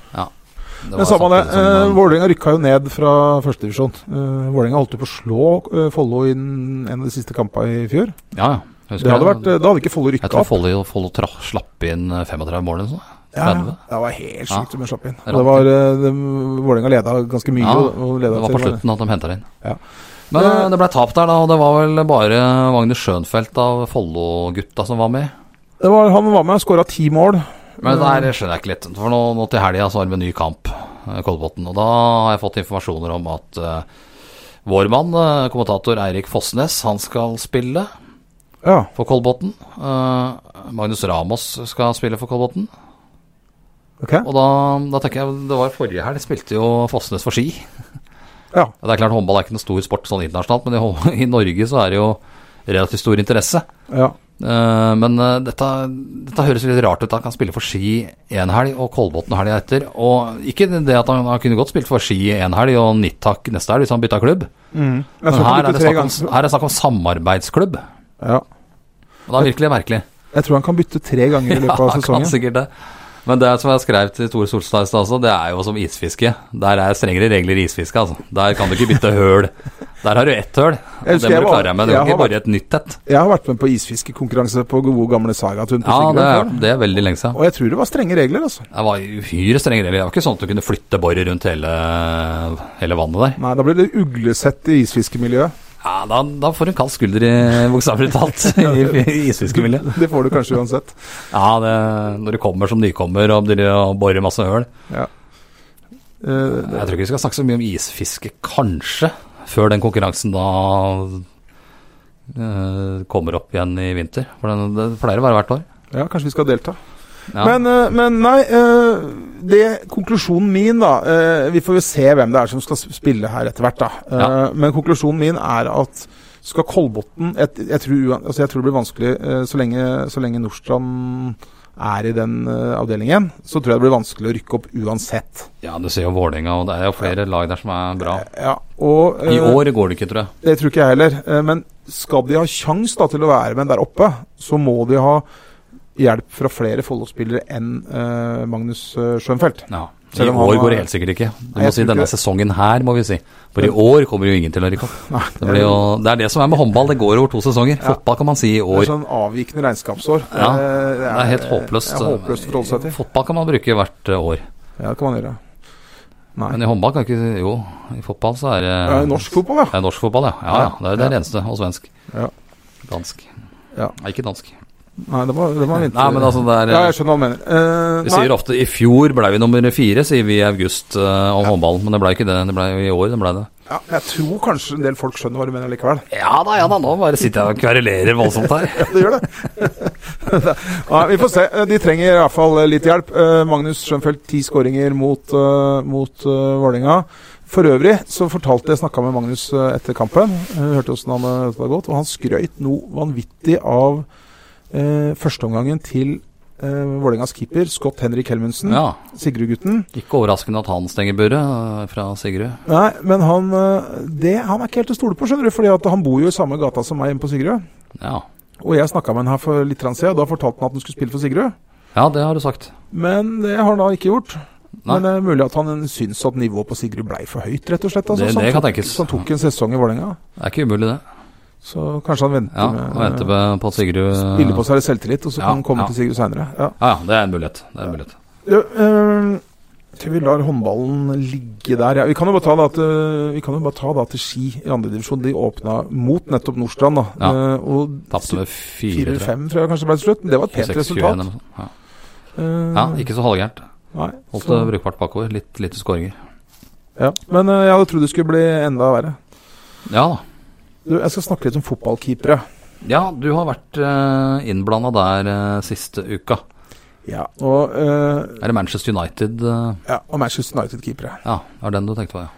[SPEAKER 2] Det var
[SPEAKER 3] Men samme det.
[SPEAKER 2] samtidig som,
[SPEAKER 3] eh,
[SPEAKER 2] eh,
[SPEAKER 3] Vålerenga rykka jo ned fra førstedivisjon. Uh, Vålerenga holdt jo på å slå eh, Follo i den- en av de siste kampene i fjor.
[SPEAKER 2] Ja, ja. Husker
[SPEAKER 3] Det hadde
[SPEAKER 2] jeg.
[SPEAKER 3] vært, eh, da hadde ikke Follo
[SPEAKER 2] Jeg
[SPEAKER 3] rykka
[SPEAKER 2] tror
[SPEAKER 3] opp.
[SPEAKER 2] Follo Follo tra- slapp inn eh, 35 mål eller noe sånt.
[SPEAKER 3] Ja,
[SPEAKER 2] 30.
[SPEAKER 3] det var helt
[SPEAKER 2] Ja.
[SPEAKER 3] sjukt om de slapp inn.
[SPEAKER 2] Rart.
[SPEAKER 3] Og det var, eh, de- Vålerenga leda ganske mye.
[SPEAKER 2] Ja,
[SPEAKER 3] og- og
[SPEAKER 2] Det
[SPEAKER 3] leda
[SPEAKER 2] var
[SPEAKER 3] til-
[SPEAKER 2] på slutten at de henta inn.
[SPEAKER 3] Ja.
[SPEAKER 2] Men eh,
[SPEAKER 3] Eh,
[SPEAKER 2] det ble tap der, da. Og det var vel bare Magnus Schønfeldt av Follo-gutta som var med.
[SPEAKER 3] Det var, han var med og skåra ti mål.
[SPEAKER 2] Men
[SPEAKER 3] Mm.
[SPEAKER 2] det her skjønner jeg ikke litt. For nå, nå til helga så har vi en ny kamp, eh, Kolbotn. Og da har jeg fått informasjoner om at eh, vår mann, eh, kommentator Eirik Fossnes, han skal spille
[SPEAKER 3] Ja.
[SPEAKER 2] for Kolbotn. Eh, Magnus Ramos skal spille for Kolbotn.
[SPEAKER 3] ok
[SPEAKER 2] Og da, da tenker jeg Det var forrige helg, spilte jo Fossnes for ski. Ja,
[SPEAKER 3] Ja.
[SPEAKER 2] Det er klart Håndball er ikke noen stor sport sånn internasjonalt, men i, hå- i Norge så er det jo relativt stor interesse.
[SPEAKER 3] ja.
[SPEAKER 2] Eh, men eh, dette, dette høres litt rart ut. Han kan spille for Ski én helg og Kolbotn helga etter. Og ikke det at han, han kunne godt spilt for Ski én helg og Nittak neste helg hvis han bytta klubb.
[SPEAKER 3] Mm. Jeg
[SPEAKER 2] Men
[SPEAKER 3] tror han
[SPEAKER 2] her er, det
[SPEAKER 3] bytte tre
[SPEAKER 2] snakk om,
[SPEAKER 3] ganger.
[SPEAKER 2] her er det snakk om samarbeidsklubb.
[SPEAKER 3] Ja.
[SPEAKER 2] Og det er virkelig merkelig.
[SPEAKER 3] Jeg tror han kan bytte tre ganger i løpet av
[SPEAKER 2] han
[SPEAKER 3] sesongen.
[SPEAKER 2] kan sikkert det. Men det er som jeg skrev til Tore Solstad i stad også, det er jo som isfiske. Der er strengere regler i isfiske, altså. Der kan du ikke bytte høl Der har du ett høl, og det
[SPEAKER 3] husker
[SPEAKER 2] må
[SPEAKER 3] jeg
[SPEAKER 2] du
[SPEAKER 3] var-
[SPEAKER 2] klare deg med. Det
[SPEAKER 3] jeg
[SPEAKER 2] er jo ikke
[SPEAKER 3] har
[SPEAKER 2] bare et nytt et.
[SPEAKER 3] Jeg har vært med på isfiskekonkurranse på gode gamle Sagatun på
[SPEAKER 2] Ja, det
[SPEAKER 3] Sigrun
[SPEAKER 2] er,
[SPEAKER 3] før.
[SPEAKER 2] det er veldig lenge siden.
[SPEAKER 3] Og jeg tror det var strenge regler, altså.
[SPEAKER 2] Det var uhyre strenge regler. Det var ikke sånn at du kunne flytte boret rundt hele, hele vannet der.
[SPEAKER 3] Nei, da ble det uglesett i isfiskemiljøet.
[SPEAKER 2] Ja, da, da får du en kald skulder, i- bokstavelig talt, i, i isfiskemiljøet.
[SPEAKER 3] Det får du kanskje uansett.
[SPEAKER 2] Ja, det, når du kommer som nykommer og driver og borer masse høl.
[SPEAKER 3] Eh,
[SPEAKER 2] Jeg tror ikke vi skal snakke så mye om isfiske, kanskje, før den konkurransen da eh, kommer opp igjen i vinter. For den, det pleier å være hvert år.
[SPEAKER 3] ja, kanskje vi skal delta.
[SPEAKER 2] Ja.
[SPEAKER 3] Men, eh, men nei, eh, det konklusjonen min da eh, Vi får jo se hvem det er som skal spille her etter hvert, da. Eh,
[SPEAKER 2] Ja.
[SPEAKER 3] Men konklusjonen min er at skal Kolbotn jeg, jeg, tror, uan- altså jeg tror det blir vanskelig eh, så lenge, så lenge Nordstrand er i den eh, avdelingen. Så tror jeg det blir vanskelig å rykke opp uansett.
[SPEAKER 2] ja, du ser jo Vålerenga, og det er jo flere lag der som er bra.
[SPEAKER 3] Ja, og,
[SPEAKER 2] I
[SPEAKER 3] eh,
[SPEAKER 2] år går det ikke, tror jeg.
[SPEAKER 3] Det tror ikke jeg heller. Eh, Men skal de ha sjans da til å være med der oppe, så må de ha hjelp fra flere Follo-spillere enn eh, Magnus eh, Schjønfeldt.
[SPEAKER 2] Ja. I
[SPEAKER 3] Selv om han
[SPEAKER 2] år
[SPEAKER 3] har-
[SPEAKER 2] går det helt sikkert ikke. Du
[SPEAKER 3] Nei,
[SPEAKER 2] må
[SPEAKER 3] jeg
[SPEAKER 2] si
[SPEAKER 3] tror ikke
[SPEAKER 2] denne
[SPEAKER 3] det.
[SPEAKER 2] sesongen her, må vi si. For i år kommer jo ingen til å rykke opp.
[SPEAKER 3] Nei,
[SPEAKER 2] Det, blir jo, det er det som er med håndball, det går over to sesonger.
[SPEAKER 3] Ja.
[SPEAKER 2] Fotball kan man si i
[SPEAKER 3] det er
[SPEAKER 2] år.
[SPEAKER 3] sånn avvikende regnskapsår.
[SPEAKER 2] Ja,
[SPEAKER 3] Eh,
[SPEAKER 2] Det er helt håpløst.
[SPEAKER 3] Det er håpløst å forholde seg til.
[SPEAKER 2] Fotball kan man bruke hvert eh, år.
[SPEAKER 3] Ja, det kan man gjøre. Nei.
[SPEAKER 2] Men i håndball kan ikke Jo, i fotball så er det
[SPEAKER 3] Ja, i norsk fotball, ja.
[SPEAKER 2] Det er norsk fotball, ja. Ja, ja. Det er det eneste. Og svensk.
[SPEAKER 3] Ja.
[SPEAKER 2] Dansk.
[SPEAKER 3] Ja.
[SPEAKER 2] Nei, ikke dansk.
[SPEAKER 3] Nei, det var, det var vinter...
[SPEAKER 2] Nei, men altså, det er
[SPEAKER 3] Ja, jeg skjønner hva du mener. Eh,
[SPEAKER 2] Vi
[SPEAKER 3] nei.
[SPEAKER 2] sier ofte i fjor ble vi nummer fire, sier vi i august eh, om håndballen. Men det ble ikke det. Det ble jo i år, det ble det.
[SPEAKER 3] ja, jeg tror kanskje en del folk skjønner hva du mener likevel.
[SPEAKER 2] Ja da, ja da. Nå bare sitter jeg og kverulerer voldsomt her.
[SPEAKER 3] Det gjør det. Nei, vi får se. De trenger i hvert fall litt hjelp. Eh, Magnus Schjønfeldt, ti skåringer mot, eh, mot eh, Vålerenga. For øvrig så fortalte jeg snakka med Magnus eh, etter kampen, eh, hørte åssen han eh, hadde gått, og han skrøyt noe vanvittig av eh, førsteomgangen til eh, Vålerengas keeper, Scott Henrik Helmundsen,
[SPEAKER 2] Ja.
[SPEAKER 3] Sigrud-gutten.
[SPEAKER 2] Ikke overraskende at han stenger buret eh, fra Sigrud.
[SPEAKER 3] Nei, men han, eh, det, han er ikke helt til å stole på, skjønner du, fordi at han bor jo i samme gata som meg hjemme på Sigrud.
[SPEAKER 2] Ja.
[SPEAKER 3] Og jeg snakka med han her for litt grann siden, og da fortalte han at han skulle spille for Sigrud.
[SPEAKER 2] ja, det har du sagt.
[SPEAKER 3] Men det har han da ikke gjort.
[SPEAKER 2] Nei.
[SPEAKER 3] Men det er mulig at han syns at nivået på Sigrud blei for høyt, rett og slett. Altså,
[SPEAKER 2] Det-
[SPEAKER 3] så han
[SPEAKER 2] det kan
[SPEAKER 3] tok-
[SPEAKER 2] tenkes.
[SPEAKER 3] Så han tok en sesong i Vålerenga.
[SPEAKER 2] Det er ikke umulig, det.
[SPEAKER 3] Så kanskje han venter
[SPEAKER 2] Ja,
[SPEAKER 3] med
[SPEAKER 2] Å vente på- eh, på at Sigrud
[SPEAKER 3] Spille på seg litt selvtillit, og så
[SPEAKER 2] Ja,
[SPEAKER 3] kan han komme
[SPEAKER 2] ja.
[SPEAKER 3] til Sigrud seinere. Ja.
[SPEAKER 2] Ja, ja. Det er en mulighet. Det er en mulighet.
[SPEAKER 3] Ja, eh, tror vi lar håndballen ligge der. Ja, vi kan jo bare ta da til, vi kan jo bare ta da til Ski i andredivisjon. De åpna mot nettopp Nordstrand, da.
[SPEAKER 2] Ja.
[SPEAKER 3] Eh, og
[SPEAKER 2] Tapte med fire, tror jeg.
[SPEAKER 3] 4-5, tror jeg kanskje det ble til slutt. Men det var et
[SPEAKER 2] 26-21
[SPEAKER 3] pent
[SPEAKER 2] eller
[SPEAKER 3] resultat.
[SPEAKER 2] noe sånt. Ja.
[SPEAKER 3] Eh,
[SPEAKER 2] ja, ikke så halvgærent.
[SPEAKER 3] nei,
[SPEAKER 2] Holdt det
[SPEAKER 3] så-
[SPEAKER 2] brukbart bakover. Litt lite skåringer.
[SPEAKER 3] ja. Men eh, jeg hadde trodd det skulle bli enda verre.
[SPEAKER 2] Ja da.
[SPEAKER 3] Du, jeg skal snakke litt om fotballkeepere.
[SPEAKER 2] Ja, du har vært uh, innblanda der eh, siste uka.
[SPEAKER 3] Ja, og, eh,
[SPEAKER 2] Er det Manchester United eh,
[SPEAKER 3] ja, og Manchester United-keepere.
[SPEAKER 2] Ja, er den du tenkte på, ja.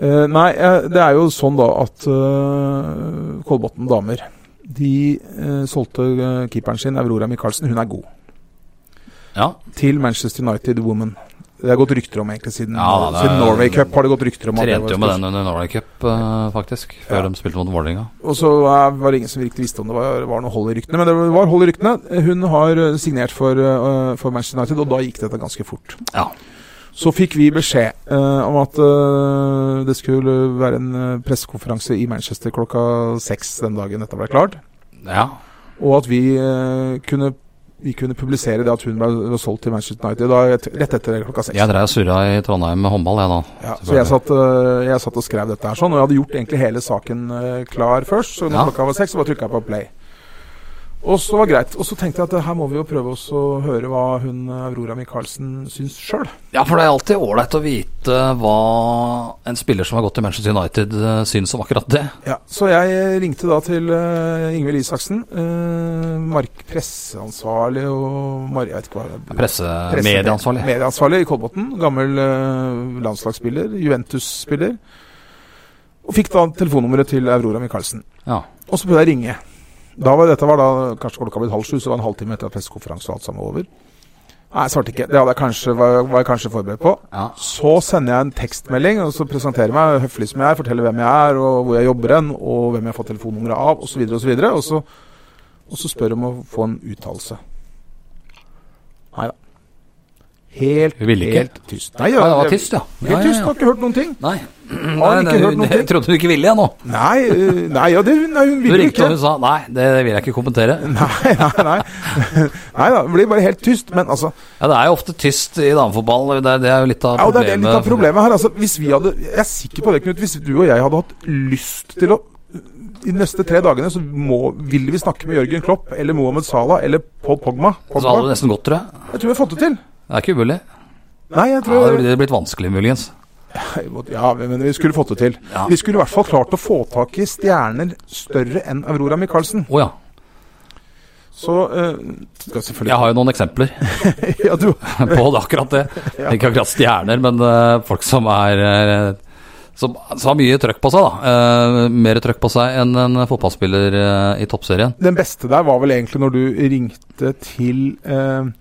[SPEAKER 3] Eh, nei, eh, det er jo sånn da at uh, Kolbotn damer De eh, solgte eh, keeperen sin, Aurora Michaelsen, hun er god,
[SPEAKER 2] Ja,
[SPEAKER 3] til Manchester United Woman. Det har gått rykter om egentlig siden,
[SPEAKER 2] Ja, det er-
[SPEAKER 3] siden Norway Cup. har det gått rykter om at det
[SPEAKER 2] Trente
[SPEAKER 3] var-
[SPEAKER 2] jo med den under Norway Cup, eh, faktisk. Før
[SPEAKER 3] Ja.
[SPEAKER 2] de spilte mot Vålerenga.
[SPEAKER 3] Og så eh, var det ingen som virkelig visste om det var, var noe hold i ryktene. Men det var hold i ryktene. Hun har eh, signert for, eh, for Manchester United, og da gikk dette ganske fort.
[SPEAKER 2] Ja.
[SPEAKER 3] Så fikk vi beskjed eh, om at eh, det skulle være en eh, pressekonferanse i Manchester klokka seks den dagen dette ble klart,
[SPEAKER 2] Ja.
[SPEAKER 3] og at vi eh, kunne vi kunne publisere det at hun ble, ble solgt til Manchester United da, et- rett etter klokka seks.
[SPEAKER 2] Jeg dreiv og surra i Trondheim med håndball, jeg da.
[SPEAKER 3] Ja, så jeg satt, øh, jeg satt og skrev dette her sånn, og jeg hadde gjort egentlig hele saken øh, klar først. Så når
[SPEAKER 2] Ja.
[SPEAKER 3] klokka var seks, så bare trykka jeg på play. Og så var det greit. Og så tenkte jeg at øh, her må vi jo prøve oss å høre hva hun øh, Aurora Michaelsen syns sjøl.
[SPEAKER 2] Ja, for det er alltid ålreit å vite hva en spiller som har gått til Manchester United, eh, syns om akkurat det.
[SPEAKER 3] Ja, så jeg ringte da til uh, Ingvild Isaksen, øh, mark presseansvarlig og mar jeg vet ikke hva det er.
[SPEAKER 2] Presse,
[SPEAKER 3] Presse-
[SPEAKER 2] medieansvarlig.
[SPEAKER 3] Medieansvarlig i Kolbotn. Gammel øh, landslagsspiller, Juventus-spiller. Og fikk da telefonnummeret til Aurora Michaelsen.
[SPEAKER 2] Ja.
[SPEAKER 3] Og så prøvde jeg å ringe. Da var, dette var da kanskje klokka blitt halv sju, så det var en halvtime etter at pressekonferansen var alt sammen over. Nei, svarte ikke. Det hadde jeg kanskje, var, var jeg kanskje forberedt på.
[SPEAKER 2] ja.
[SPEAKER 3] Så sender jeg en tekstmelding og så presenterer jeg meg høflig som jeg er, forteller hvem jeg er, og hvor jeg jobber hen, og hvem jeg har fått telefonnummeret av, osv., videre og så videre, og så- og så spør jeg om å få en uttalelse. Nei da. helt,
[SPEAKER 2] Hun ville ikke.
[SPEAKER 3] helt tyst. Nei,
[SPEAKER 2] Ja, det var
[SPEAKER 3] jeg-
[SPEAKER 2] tyst, ja. ja,
[SPEAKER 3] Helt
[SPEAKER 2] ja,
[SPEAKER 3] tyst,
[SPEAKER 2] ja.
[SPEAKER 3] har ikke hørt noen ting.
[SPEAKER 2] Nei,
[SPEAKER 3] Har
[SPEAKER 2] nei,
[SPEAKER 3] ikke
[SPEAKER 2] nei,
[SPEAKER 3] hørt noe
[SPEAKER 2] det- jeg
[SPEAKER 3] til.
[SPEAKER 2] trodde du ikke ville, jeg nå.
[SPEAKER 3] Nei, eh, nei, ja, det, nei
[SPEAKER 2] Du
[SPEAKER 3] hun ville
[SPEAKER 2] ringte
[SPEAKER 3] ikke.
[SPEAKER 2] og hun sa nei, det vil jeg ikke kommentere.
[SPEAKER 3] Nei, nei, nei. nei da, det blir bare helt tyst. Men altså,
[SPEAKER 2] Ja, Det er jo ofte tyst i damefotball. Det, er- det er jo litt av
[SPEAKER 3] ja, og det er det litt av
[SPEAKER 2] problemet.
[SPEAKER 3] problemet her. Altså, hvis vi hadde, jeg er sikker på det, Knut. Hvis du og jeg hadde hatt lyst til å de neste tre dagene så må, vil vi snakke med Jørgen Klopp eller Mohammed Salah eller Paul Pogba.
[SPEAKER 2] Så hadde det
[SPEAKER 3] Pogba.
[SPEAKER 2] nesten gått, tror jeg.
[SPEAKER 3] Jeg tror vi har fått det til.
[SPEAKER 2] Det er ikke umulig.
[SPEAKER 3] Nei, jeg
[SPEAKER 2] Ja,
[SPEAKER 3] tror
[SPEAKER 2] det hadde blitt- blitt vanskelig, muligens.
[SPEAKER 3] Ja, men vi skulle fått det til.
[SPEAKER 2] Ja.
[SPEAKER 3] Vi skulle i hvert fall klart å få tak i stjerner større enn Aurora Michaelsen.
[SPEAKER 2] Å ja.
[SPEAKER 3] Så eh, skal jeg selvfølgelig
[SPEAKER 2] Jeg har jo noen eksempler
[SPEAKER 3] Ja, du
[SPEAKER 2] på det, akkurat det.
[SPEAKER 3] Ja.
[SPEAKER 2] Ikke akkurat stjerner, men eh, folk som er eh, som, som har mye trøkk på seg, da. Eh, mer trøkk på seg enn en fotballspiller eh, i toppserien.
[SPEAKER 3] Den beste der var vel egentlig når du ringte til eh,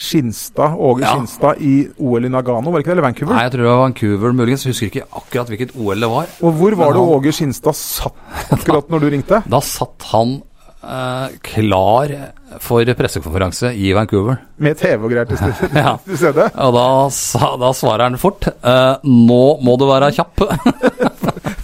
[SPEAKER 3] Skinstad, Åge
[SPEAKER 2] Ja.
[SPEAKER 3] Skinstad i OL i Nagano, var det ikke det? Eller Vancouver?
[SPEAKER 2] Nei, jeg tror det var Vancouver, muligens. Husker ikke akkurat hvilket OL det var.
[SPEAKER 3] Og hvor var
[SPEAKER 2] Men
[SPEAKER 3] det
[SPEAKER 2] han-
[SPEAKER 3] Åge Skinstad satt akkurat når du ringte?
[SPEAKER 2] Da satt han eh, klar for pressekonferanse i Vancouver.
[SPEAKER 3] Med TV og greier til stede.
[SPEAKER 2] Ja.
[SPEAKER 3] Til stede.
[SPEAKER 2] Og da, sa, da svarer han fort eh, 'Nå må du være kjapp'.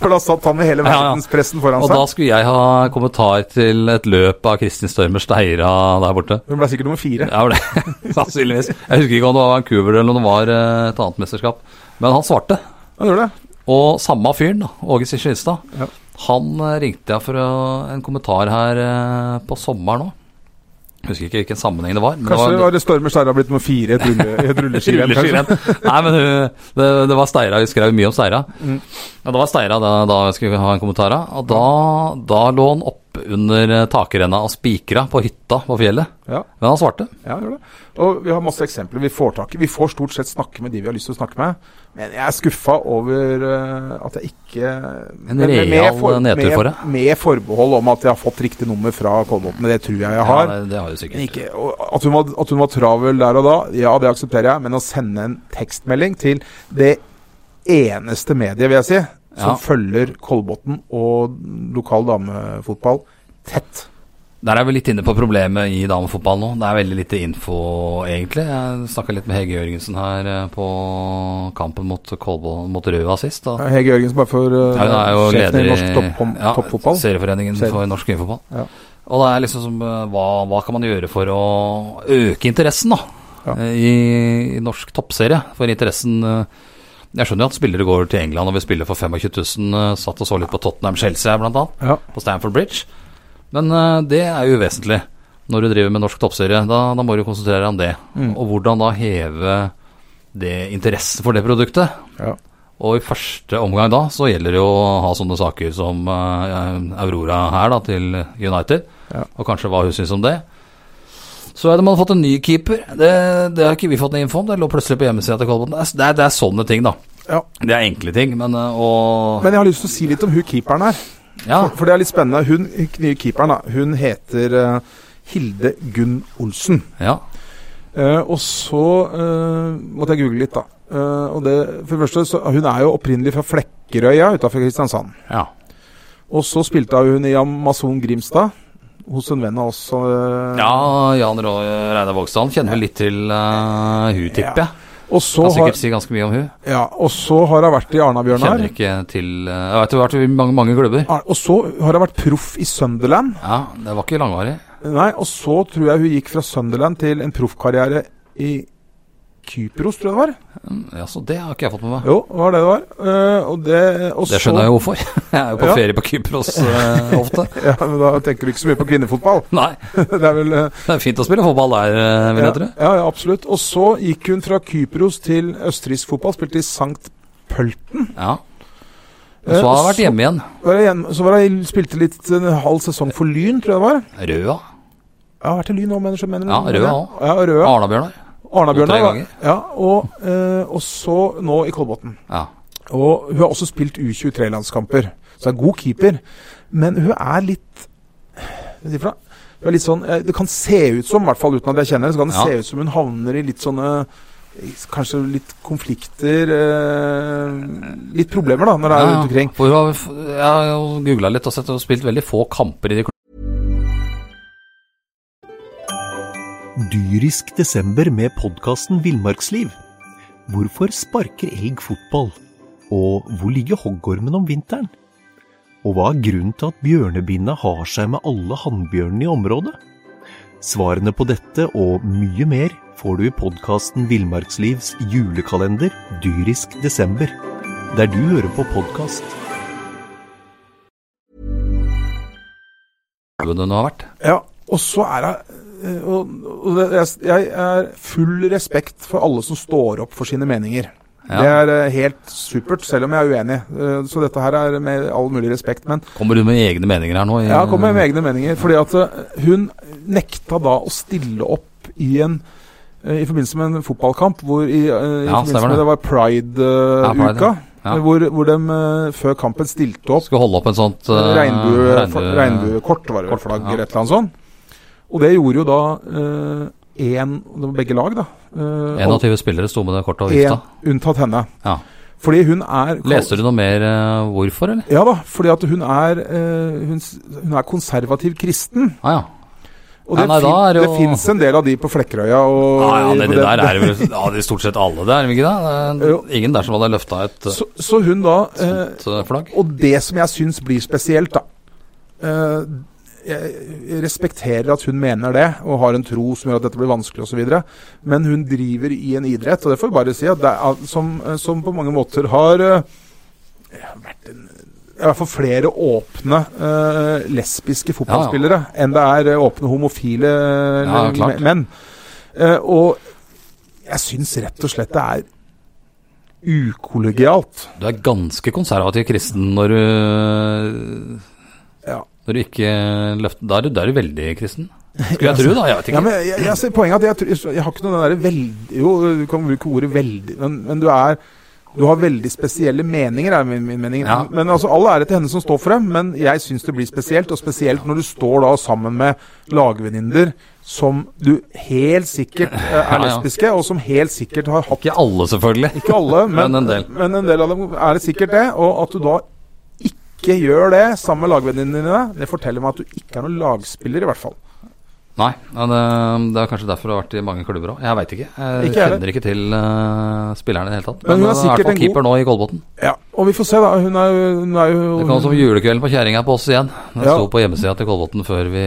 [SPEAKER 3] For da satt han med hele
[SPEAKER 2] Ja, ja.
[SPEAKER 3] verdenspressen foran
[SPEAKER 2] Og da
[SPEAKER 3] seg.
[SPEAKER 2] skulle jeg ha kommentar til et løp av Kristin Størmer Steira der borte.
[SPEAKER 3] Hun ble sikkert nummer fire.
[SPEAKER 2] Ja, var det sannsynligvis. Jeg husker ikke om det var Vancouver eller om det var eh, et annet mesterskap. Men han svarte.
[SPEAKER 3] Han gjorde det.
[SPEAKER 2] Og samme fyren, da, Åge Siskinstad,
[SPEAKER 3] Ja.
[SPEAKER 2] han eh, ringte jeg for å- en kommentar her eh, på sommeren òg. Husker ikke hvilken sammenheng det var. men
[SPEAKER 3] Kanskje
[SPEAKER 2] det
[SPEAKER 3] det var Stormer Steira blitt nummer fire i et rulle- i et rulleskirenn. kanskje.
[SPEAKER 2] Rulleskirenn. Nei, men hun- det, det var Steira. Vi skrev mye om Steira.
[SPEAKER 3] Mm.
[SPEAKER 2] Ja, det var Steira da, da jeg skulle ha en kommentar. da. Og da, da lå han oppunder takrenna og spikra på hytta på fjellet.
[SPEAKER 3] Ja.
[SPEAKER 2] Men han svarte.
[SPEAKER 3] Ja, gjør det. Og vi har masse eksempler. Vi får tak i Vi får stort sett snakke med de vi har lyst til å snakke med. Men jeg er skuffa over eh, at jeg ikke men- men med
[SPEAKER 2] real
[SPEAKER 3] for-
[SPEAKER 2] nedtur
[SPEAKER 3] med-
[SPEAKER 2] for deg.
[SPEAKER 3] Med forbehold om at jeg har fått riktig nummer fra Kolbotn. Det tror jeg jeg har.
[SPEAKER 2] Ja, det, det har du sikkert.
[SPEAKER 3] Men ikke, og at, hun var, at hun var travel der og da, ja, det aksepterer jeg. Men å sende en tekstmelding til det eneste mediet, vil jeg si, som
[SPEAKER 2] Ja.
[SPEAKER 3] følger Kolbotn og lokal damefotball tett.
[SPEAKER 2] Der er vi litt inne på problemet i damefotball nå. Det er veldig lite info, egentlig. Jeg snakka litt med Hege Jørgensen her eh, på kampen mot, Kolbo- mot Røa sist. Da.
[SPEAKER 3] Hege Jørgensen, bare for uh,
[SPEAKER 2] Ja, hun er jo
[SPEAKER 3] sjefen
[SPEAKER 2] leder
[SPEAKER 3] i norsk topp-
[SPEAKER 2] ja,
[SPEAKER 3] toppfotball.
[SPEAKER 2] Serieforeningen
[SPEAKER 3] Serie-
[SPEAKER 2] for norsk kvinnefotball.
[SPEAKER 3] Ja.
[SPEAKER 2] Og det er liksom som, eh, hva, hva kan man gjøre for å øke interessen, da?
[SPEAKER 3] Ja.
[SPEAKER 2] eh, I, I norsk toppserie. For interessen eh, Jeg skjønner jo at spillere går til England og vil spille for 25 000. eh, Satt og så litt på Tottenham Chelsea, blant annet
[SPEAKER 3] Ja.
[SPEAKER 2] på Stamford Bridge. Men eh, det er jo uvesentlig når du driver med norsk toppserie. Da, da må du konsentrere deg om det.
[SPEAKER 3] Mm.
[SPEAKER 2] Og hvordan da heve det interessen for det produktet.
[SPEAKER 3] Ja.
[SPEAKER 2] Og i første omgang da så gjelder det jo å ha sånne saker som eh, Aurora her da til United,
[SPEAKER 3] Ja.
[SPEAKER 2] og kanskje hva hun syns om det. Så hadde man fått en ny keeper. Det, det har ikke vi fått noe info om. Det lå plutselig på hjemmesida til Kolbotn. Det, er- det, er- det er sånne ting, da.
[SPEAKER 3] Ja.
[SPEAKER 2] Det er enkle ting, men eh, og
[SPEAKER 3] Men jeg har lyst til å si litt om hun keeperen her.
[SPEAKER 2] Ja.
[SPEAKER 3] For, for det er litt spennende. Hun nye keeperen da, hun heter eh, Hilde Gunn Olsen.
[SPEAKER 2] ja.
[SPEAKER 3] Eh, og så eh, måtte jeg google litt, da. Eh, og det, for det første, så, Hun er jo opprinnelig fra Flekkerøya utafor Kristiansand.
[SPEAKER 2] ja.
[SPEAKER 3] Og så spilte hun i Amazon Grimstad hos en venn av oss. eh,
[SPEAKER 2] Ja, Jan Rå- Reidar Vågsdal kjenner vel litt til uh, hun, tipper jeg.
[SPEAKER 3] Og så
[SPEAKER 2] Kan
[SPEAKER 3] har,
[SPEAKER 2] sikkert si ganske mye om hun.
[SPEAKER 3] ja, og så har hun vært i Arna-Bjørnar.
[SPEAKER 2] Kjenner ikke til eh, Jeg vet det har vært i mange, mange klubber.
[SPEAKER 3] Ar- Og så har hun vært proff i Sunderland.
[SPEAKER 2] Ja, det var ikke langvarig.
[SPEAKER 3] Nei, og så tror jeg hun gikk fra Sunderland til en proffkarriere i Kypros, tror jeg det var.
[SPEAKER 2] Mm, Ja, så det har ikke jeg fått med meg.
[SPEAKER 3] Jo, det var det det var. Eh, og det, og
[SPEAKER 2] Det skjønner jeg jo hvorfor. Jeg er jo på
[SPEAKER 3] Ja.
[SPEAKER 2] ferie på Kypros eh, ofte.
[SPEAKER 3] Ja, men Da tenker du ikke så mye på kvinnefotball.
[SPEAKER 2] Nei,
[SPEAKER 3] det er vel eh,
[SPEAKER 2] det er fint å spille fotball der, eh, vil jeg tro.
[SPEAKER 3] ja, ja, ja, absolutt. Og så gikk hun fra Kypros til østerriksk fotball, spilte i Sankt Pølten.
[SPEAKER 2] Ja.
[SPEAKER 3] Eh,
[SPEAKER 2] Men Så har jeg vært hjemme igjen.
[SPEAKER 3] Var jeg igjen- så var jeg, spilte litt en halv sesong for Lyn, tror jeg det var.
[SPEAKER 2] Røa.
[SPEAKER 3] Jeg har vært i Lyn òg, mener jeg. mener
[SPEAKER 2] Ja,
[SPEAKER 3] jeg.
[SPEAKER 2] Røa også.
[SPEAKER 3] Ja, Røa.
[SPEAKER 2] Arna-Bjørnar.
[SPEAKER 3] Arna-Bjørnar.
[SPEAKER 2] To-tre ganger.
[SPEAKER 3] Ja, og, eh, og så nå i Kolbotn.
[SPEAKER 2] Ja.
[SPEAKER 3] Og hun har også spilt U23-landskamper, så er god keeper. Men hun er litt Hva skal jeg si for noe? Hun er litt sånn eh, Det kan se ut som, i hvert fall uten at jeg kjenner henne, så kan det
[SPEAKER 2] Ja.
[SPEAKER 3] se ut som hun havner i litt sånne eh, Kanskje litt konflikter eh, Litt problemer, da, når det er rundt omkring.
[SPEAKER 2] for hun har, f- jeg har jo googla litt og sett og spilt veldig få kamper i de
[SPEAKER 4] dyrisk desember med podkasten Villmarksliv. Hvorfor sparker elg fotball? Og hvor ligger hoggormen om vinteren? Og hva er grunnen til at bjørnebinna har seg med alle hannbjørnene i området? Svarene på dette og mye mer får du i podkasten Villmarkslivs julekalender dyrisk desember, der du hører på podkast.
[SPEAKER 2] Hvor den har vært.
[SPEAKER 3] Ja, og så er det eh, og, og det, jeg, jeg er full respekt for alle som står opp for sine meninger. Det
[SPEAKER 2] Ja.
[SPEAKER 3] er eh, helt supert, selv om jeg er uenig. Eh, Så dette her er med all mulig respekt. Men
[SPEAKER 2] Kommer du med egne meninger her nå? i-
[SPEAKER 3] Ja, kom med egne meninger. Fordi at eh, hun nekta da å stille opp i en eh, i forbindelse med en fotballkamp hvor i, eh, i
[SPEAKER 2] Ja,
[SPEAKER 3] forbindelse
[SPEAKER 2] stemmer
[SPEAKER 3] med
[SPEAKER 2] det.
[SPEAKER 3] det var
[SPEAKER 2] Ja, Pride,
[SPEAKER 3] Pride-uka.
[SPEAKER 2] ja. Ja.
[SPEAKER 3] Hvor, hvor de eh, før kampen stilte opp
[SPEAKER 2] Skulle holde opp en sånt eh,
[SPEAKER 3] regnbue,
[SPEAKER 2] regnbue-
[SPEAKER 3] for- regnbuekort, var det vel,
[SPEAKER 2] kort,
[SPEAKER 3] flagg
[SPEAKER 2] ja.
[SPEAKER 3] eller et eller annet sånt. Og det gjorde jo da én Det var begge lag, da. eh, og
[SPEAKER 2] 21 spillere sto med det kortet og
[SPEAKER 3] en
[SPEAKER 2] vifta.
[SPEAKER 3] unntatt henne.
[SPEAKER 2] Ja.
[SPEAKER 3] Fordi hun er
[SPEAKER 2] Leste du noe mer eh, hvorfor, eller?
[SPEAKER 3] Ja da, fordi at hun er, eh, hun, s- hun er konservativ kristen.
[SPEAKER 2] Ah, ja.
[SPEAKER 3] Og
[SPEAKER 2] Ja,
[SPEAKER 3] det,
[SPEAKER 2] nei,
[SPEAKER 3] fin
[SPEAKER 2] da er det
[SPEAKER 3] det,
[SPEAKER 2] jo-
[SPEAKER 3] fins en del av de på Flekkerøya. Og
[SPEAKER 2] Ah, ja, det,
[SPEAKER 3] på
[SPEAKER 2] det
[SPEAKER 3] den-
[SPEAKER 2] der er vel ja, det er stort sett alle der, er det ikke det? det?
[SPEAKER 3] Jo.
[SPEAKER 2] er Ingen der som hadde løfta et eh,
[SPEAKER 3] så, så hun da eh,
[SPEAKER 2] sånt eh, flagg?
[SPEAKER 3] Og det som jeg syns blir spesielt, da eh, Jeg respekterer at hun mener det, og har en tro som gjør at dette blir vanskelig osv., men hun driver i en idrett, og det får vi bare si, at det er, som, eh, som på mange måter har eh, vært en i hvert fall flere åpne eh, lesbiske fotballspillere enn det er eh, åpne homofile eh,
[SPEAKER 2] Ja, klart.
[SPEAKER 3] menn. Eh, og jeg syns rett og slett det er ukollegialt.
[SPEAKER 2] Du er ganske konservativ kristen når du
[SPEAKER 3] Ja.
[SPEAKER 2] Når du ikke løfter Da er du, da er du veldig kristen. Skulle jeg tro, da. Jeg vet
[SPEAKER 3] Ja,
[SPEAKER 2] ikke.
[SPEAKER 3] men jeg, jeg ser poenget er at jeg, tror- jeg har ikke noe den der veldig Jo, du kan bruke ordet veldig, men, men du er du har veldig spesielle meninger, er min, min mening.
[SPEAKER 2] Ja.
[SPEAKER 3] Men altså, All ære til henne som står for det, men jeg syns det blir spesielt. Og spesielt når du står da sammen med lagvenninner som du helt sikkert eh, er
[SPEAKER 2] Ja, ja.
[SPEAKER 3] lesbiske, og som helt sikkert har hatt
[SPEAKER 2] Ikke alle, selvfølgelig.
[SPEAKER 3] Ikke alle, men,
[SPEAKER 2] Men en del.
[SPEAKER 3] men en del av dem er det sikkert det. Og at du da ikke gjør det sammen med lagvenninnene dine, det forteller meg at du ikke er noen lagspiller, i hvert fall.
[SPEAKER 2] Nei, men eh, det er kanskje derfor det har vært i mange klubber òg. Jeg veit ikke. Jeg
[SPEAKER 3] Ikke jeg heller.
[SPEAKER 2] kjenner ikke til eh, spillerne i det hele tatt.
[SPEAKER 3] Men
[SPEAKER 2] Men,
[SPEAKER 3] hun er
[SPEAKER 2] hun er i
[SPEAKER 3] sikkert
[SPEAKER 2] hvert
[SPEAKER 3] en
[SPEAKER 2] fall
[SPEAKER 3] god-
[SPEAKER 2] keeper nå i Kolbotn.
[SPEAKER 3] Ja, og vi får se, da. Hun er jo, hun er jo
[SPEAKER 2] Det kom som julekvelden på kjerringa på oss igjen. Det
[SPEAKER 3] Ja.
[SPEAKER 2] sto på hjemmesida til Kolbotn før vi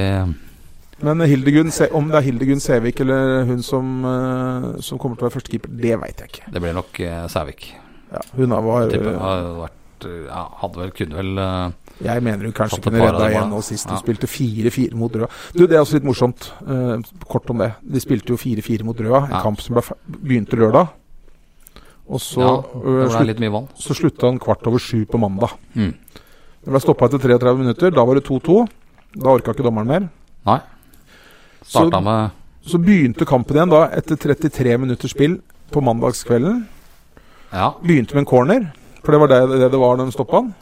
[SPEAKER 3] Men Hildegunn, Se- om det er Hildegunn Sævik eller hun som, eh, som kommer til å være førstekeeper, det veit jeg ikke.
[SPEAKER 2] Det ble nok eh, Sævik.
[SPEAKER 3] Ja, hun er, var,
[SPEAKER 2] Tipper
[SPEAKER 3] eh,
[SPEAKER 2] har vært eh, ja, Hadde vel, kunne vel eh,
[SPEAKER 3] jeg mener hun kanskje
[SPEAKER 2] Satt et
[SPEAKER 3] kunne
[SPEAKER 2] par av
[SPEAKER 3] redda
[SPEAKER 2] dem,
[SPEAKER 3] igjen
[SPEAKER 2] da.
[SPEAKER 3] nå sist. Hun
[SPEAKER 2] Ja.
[SPEAKER 3] spilte 4-4 mot Røa. Du, Det er også litt morsomt. eh, kort om det. De spilte jo 4-4 mot Røa, en
[SPEAKER 2] Ja.
[SPEAKER 3] kamp som ble, fe- begynte lørdag. Og så,
[SPEAKER 2] Ja, det
[SPEAKER 3] eh,
[SPEAKER 2] ble
[SPEAKER 3] slutt,
[SPEAKER 2] litt mye vann.
[SPEAKER 3] så slutta han kvart over sju på mandag.
[SPEAKER 2] Mm.
[SPEAKER 3] Det ble stoppa etter 33 minutter. Da var det 2-2. Da orka ikke dommeren mer.
[SPEAKER 2] Nei.
[SPEAKER 3] Så-
[SPEAKER 2] Starta med
[SPEAKER 3] Så begynte kampen igjen da etter 33 minutters spill på mandagskvelden.
[SPEAKER 2] Ja.
[SPEAKER 3] Begynte med en corner, for det var det det, det var da de stoppa han.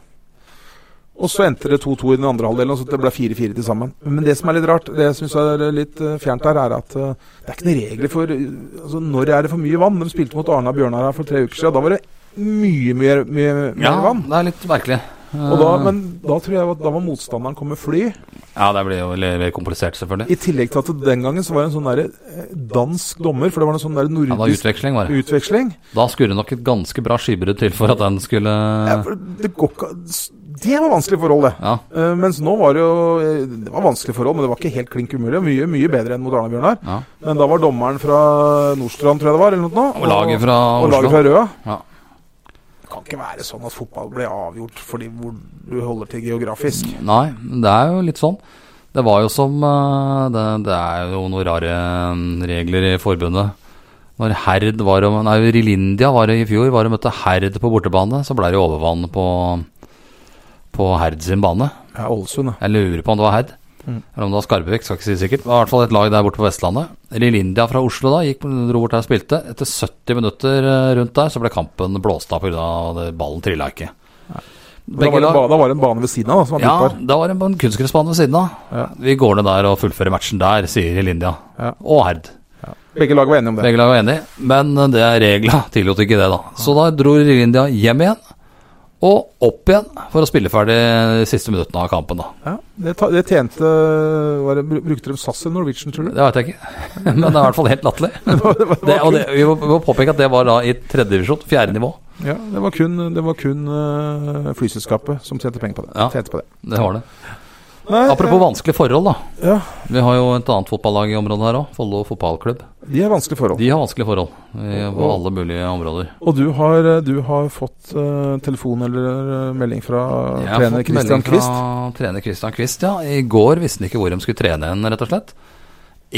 [SPEAKER 3] Og så endte det 2-2 i den andre halvdelen, og så det ble 4-4 til sammen. Men det som er litt rart, det jeg syns er litt eh, fjernt her, er at eh, det er ikke noen regler for eh, altså, Når er det for mye vann? De spilte mot Arna og Bjørnar her for tre uker siden. Da var det mye, mye, mye mer
[SPEAKER 2] ja,
[SPEAKER 3] vann.
[SPEAKER 2] det er litt merkelig.
[SPEAKER 3] Og da,
[SPEAKER 2] Eh,
[SPEAKER 3] men da tror jeg at da var motstanderen kommet fly.
[SPEAKER 2] Ja, det blir jo veldig veldig komplisert, selvfølgelig.
[SPEAKER 3] I tillegg til at det den gangen så var det en sånn derre eh, dansk dommer, for det var en sånn derre
[SPEAKER 2] Ja, det var
[SPEAKER 3] nordisk
[SPEAKER 2] utveksling, var det.
[SPEAKER 3] utveksling.
[SPEAKER 2] Da skulle det nok et ganske bra skibrudd til for at den skulle
[SPEAKER 3] Ja, for det, går ikke, det var vanskelig forhold, det.
[SPEAKER 2] Ja.
[SPEAKER 3] Eh, mens nå var det jo eh, Det var vanskelig forhold, men det var ikke helt klink umulig. Mye mye bedre enn mot Arna-Bjørnar.
[SPEAKER 2] ja.
[SPEAKER 3] Men da var dommeren fra Nordstrand, tror jeg det var, eller noe nå,
[SPEAKER 2] Og laget fra
[SPEAKER 3] og
[SPEAKER 2] Oslo.
[SPEAKER 3] laget fra Røa.
[SPEAKER 2] Ja.
[SPEAKER 3] Det kan ikke være sånn at fotball blir avgjort fordi hvor du holder til geografisk.
[SPEAKER 2] Nei, men det er jo litt sånn. Det var jo som eh, Det, det er jo noen rare eh, regler i forbundet. Når Herd var og Nei, Rilindia var det i fjor. Var og møtte Herd på bortebane, så ble det overvann på, på Herd sin bane.
[SPEAKER 3] Ja, Ålesund, ja.
[SPEAKER 2] Jeg lurer på om det var Herd. Eller om det var Skarbevik, skal ikke si sikkert. Det var i hvert fall et lag der borte på Vestlandet. Rilindia fra Oslo da gikk, dro bort der og spilte. Etter 70 minutter eh, rundt der så ble kampen blåst av pga. ballen trilla ikke.
[SPEAKER 3] Da var, det en ba, da var det en bane ved siden av da, som var
[SPEAKER 2] Ja,
[SPEAKER 3] byttbar.
[SPEAKER 2] da var det på en kunstgressbane ved siden av.
[SPEAKER 3] Ja.
[SPEAKER 2] Vi går ned der og fullfører matchen der, sier Lindia.
[SPEAKER 3] Ja.
[SPEAKER 2] Og Herd.
[SPEAKER 3] Begge lag var enige om det.
[SPEAKER 2] Begge lag var enige, men det er regla tillot ikke det, da. Så da dro Lindia hjem igjen og opp igjen for å spille ferdig de siste minuttene av kampen. da.
[SPEAKER 3] Ja, det, ta, det tjente eh, var det, bru- Brukte de SAS eller Norwegian, tror du?
[SPEAKER 2] Det vet jeg ikke, men det er i hvert fall helt latterlig.
[SPEAKER 3] Det var, det var,
[SPEAKER 2] Det, og det, vi må vi må påpeke at det var da i tredje divisjon, fjerde nivå.
[SPEAKER 3] ja, det var kun, det var kun eh, flyselskapet som tjente penger på det.
[SPEAKER 2] Ja.
[SPEAKER 3] Tjente på det.
[SPEAKER 2] Det var det.
[SPEAKER 3] Nei,
[SPEAKER 2] Apropos vanskelige forhold, da.
[SPEAKER 3] eh, ja,
[SPEAKER 2] Vi har jo et annet fotballag i området her òg, Follo fotballklubb.
[SPEAKER 3] De er vanskelige forhold.
[SPEAKER 2] De har vanskelige forhold eh, på alle mulige områder.
[SPEAKER 3] Og du har, du har fått eh, telefon eller eh, melding fra
[SPEAKER 2] Jeg har
[SPEAKER 3] trener
[SPEAKER 2] fått melding
[SPEAKER 3] Christian Quist.
[SPEAKER 2] Fra trener Christian Kvist, ja. I går visste han ikke hvor de skulle trene hen, rett og slett.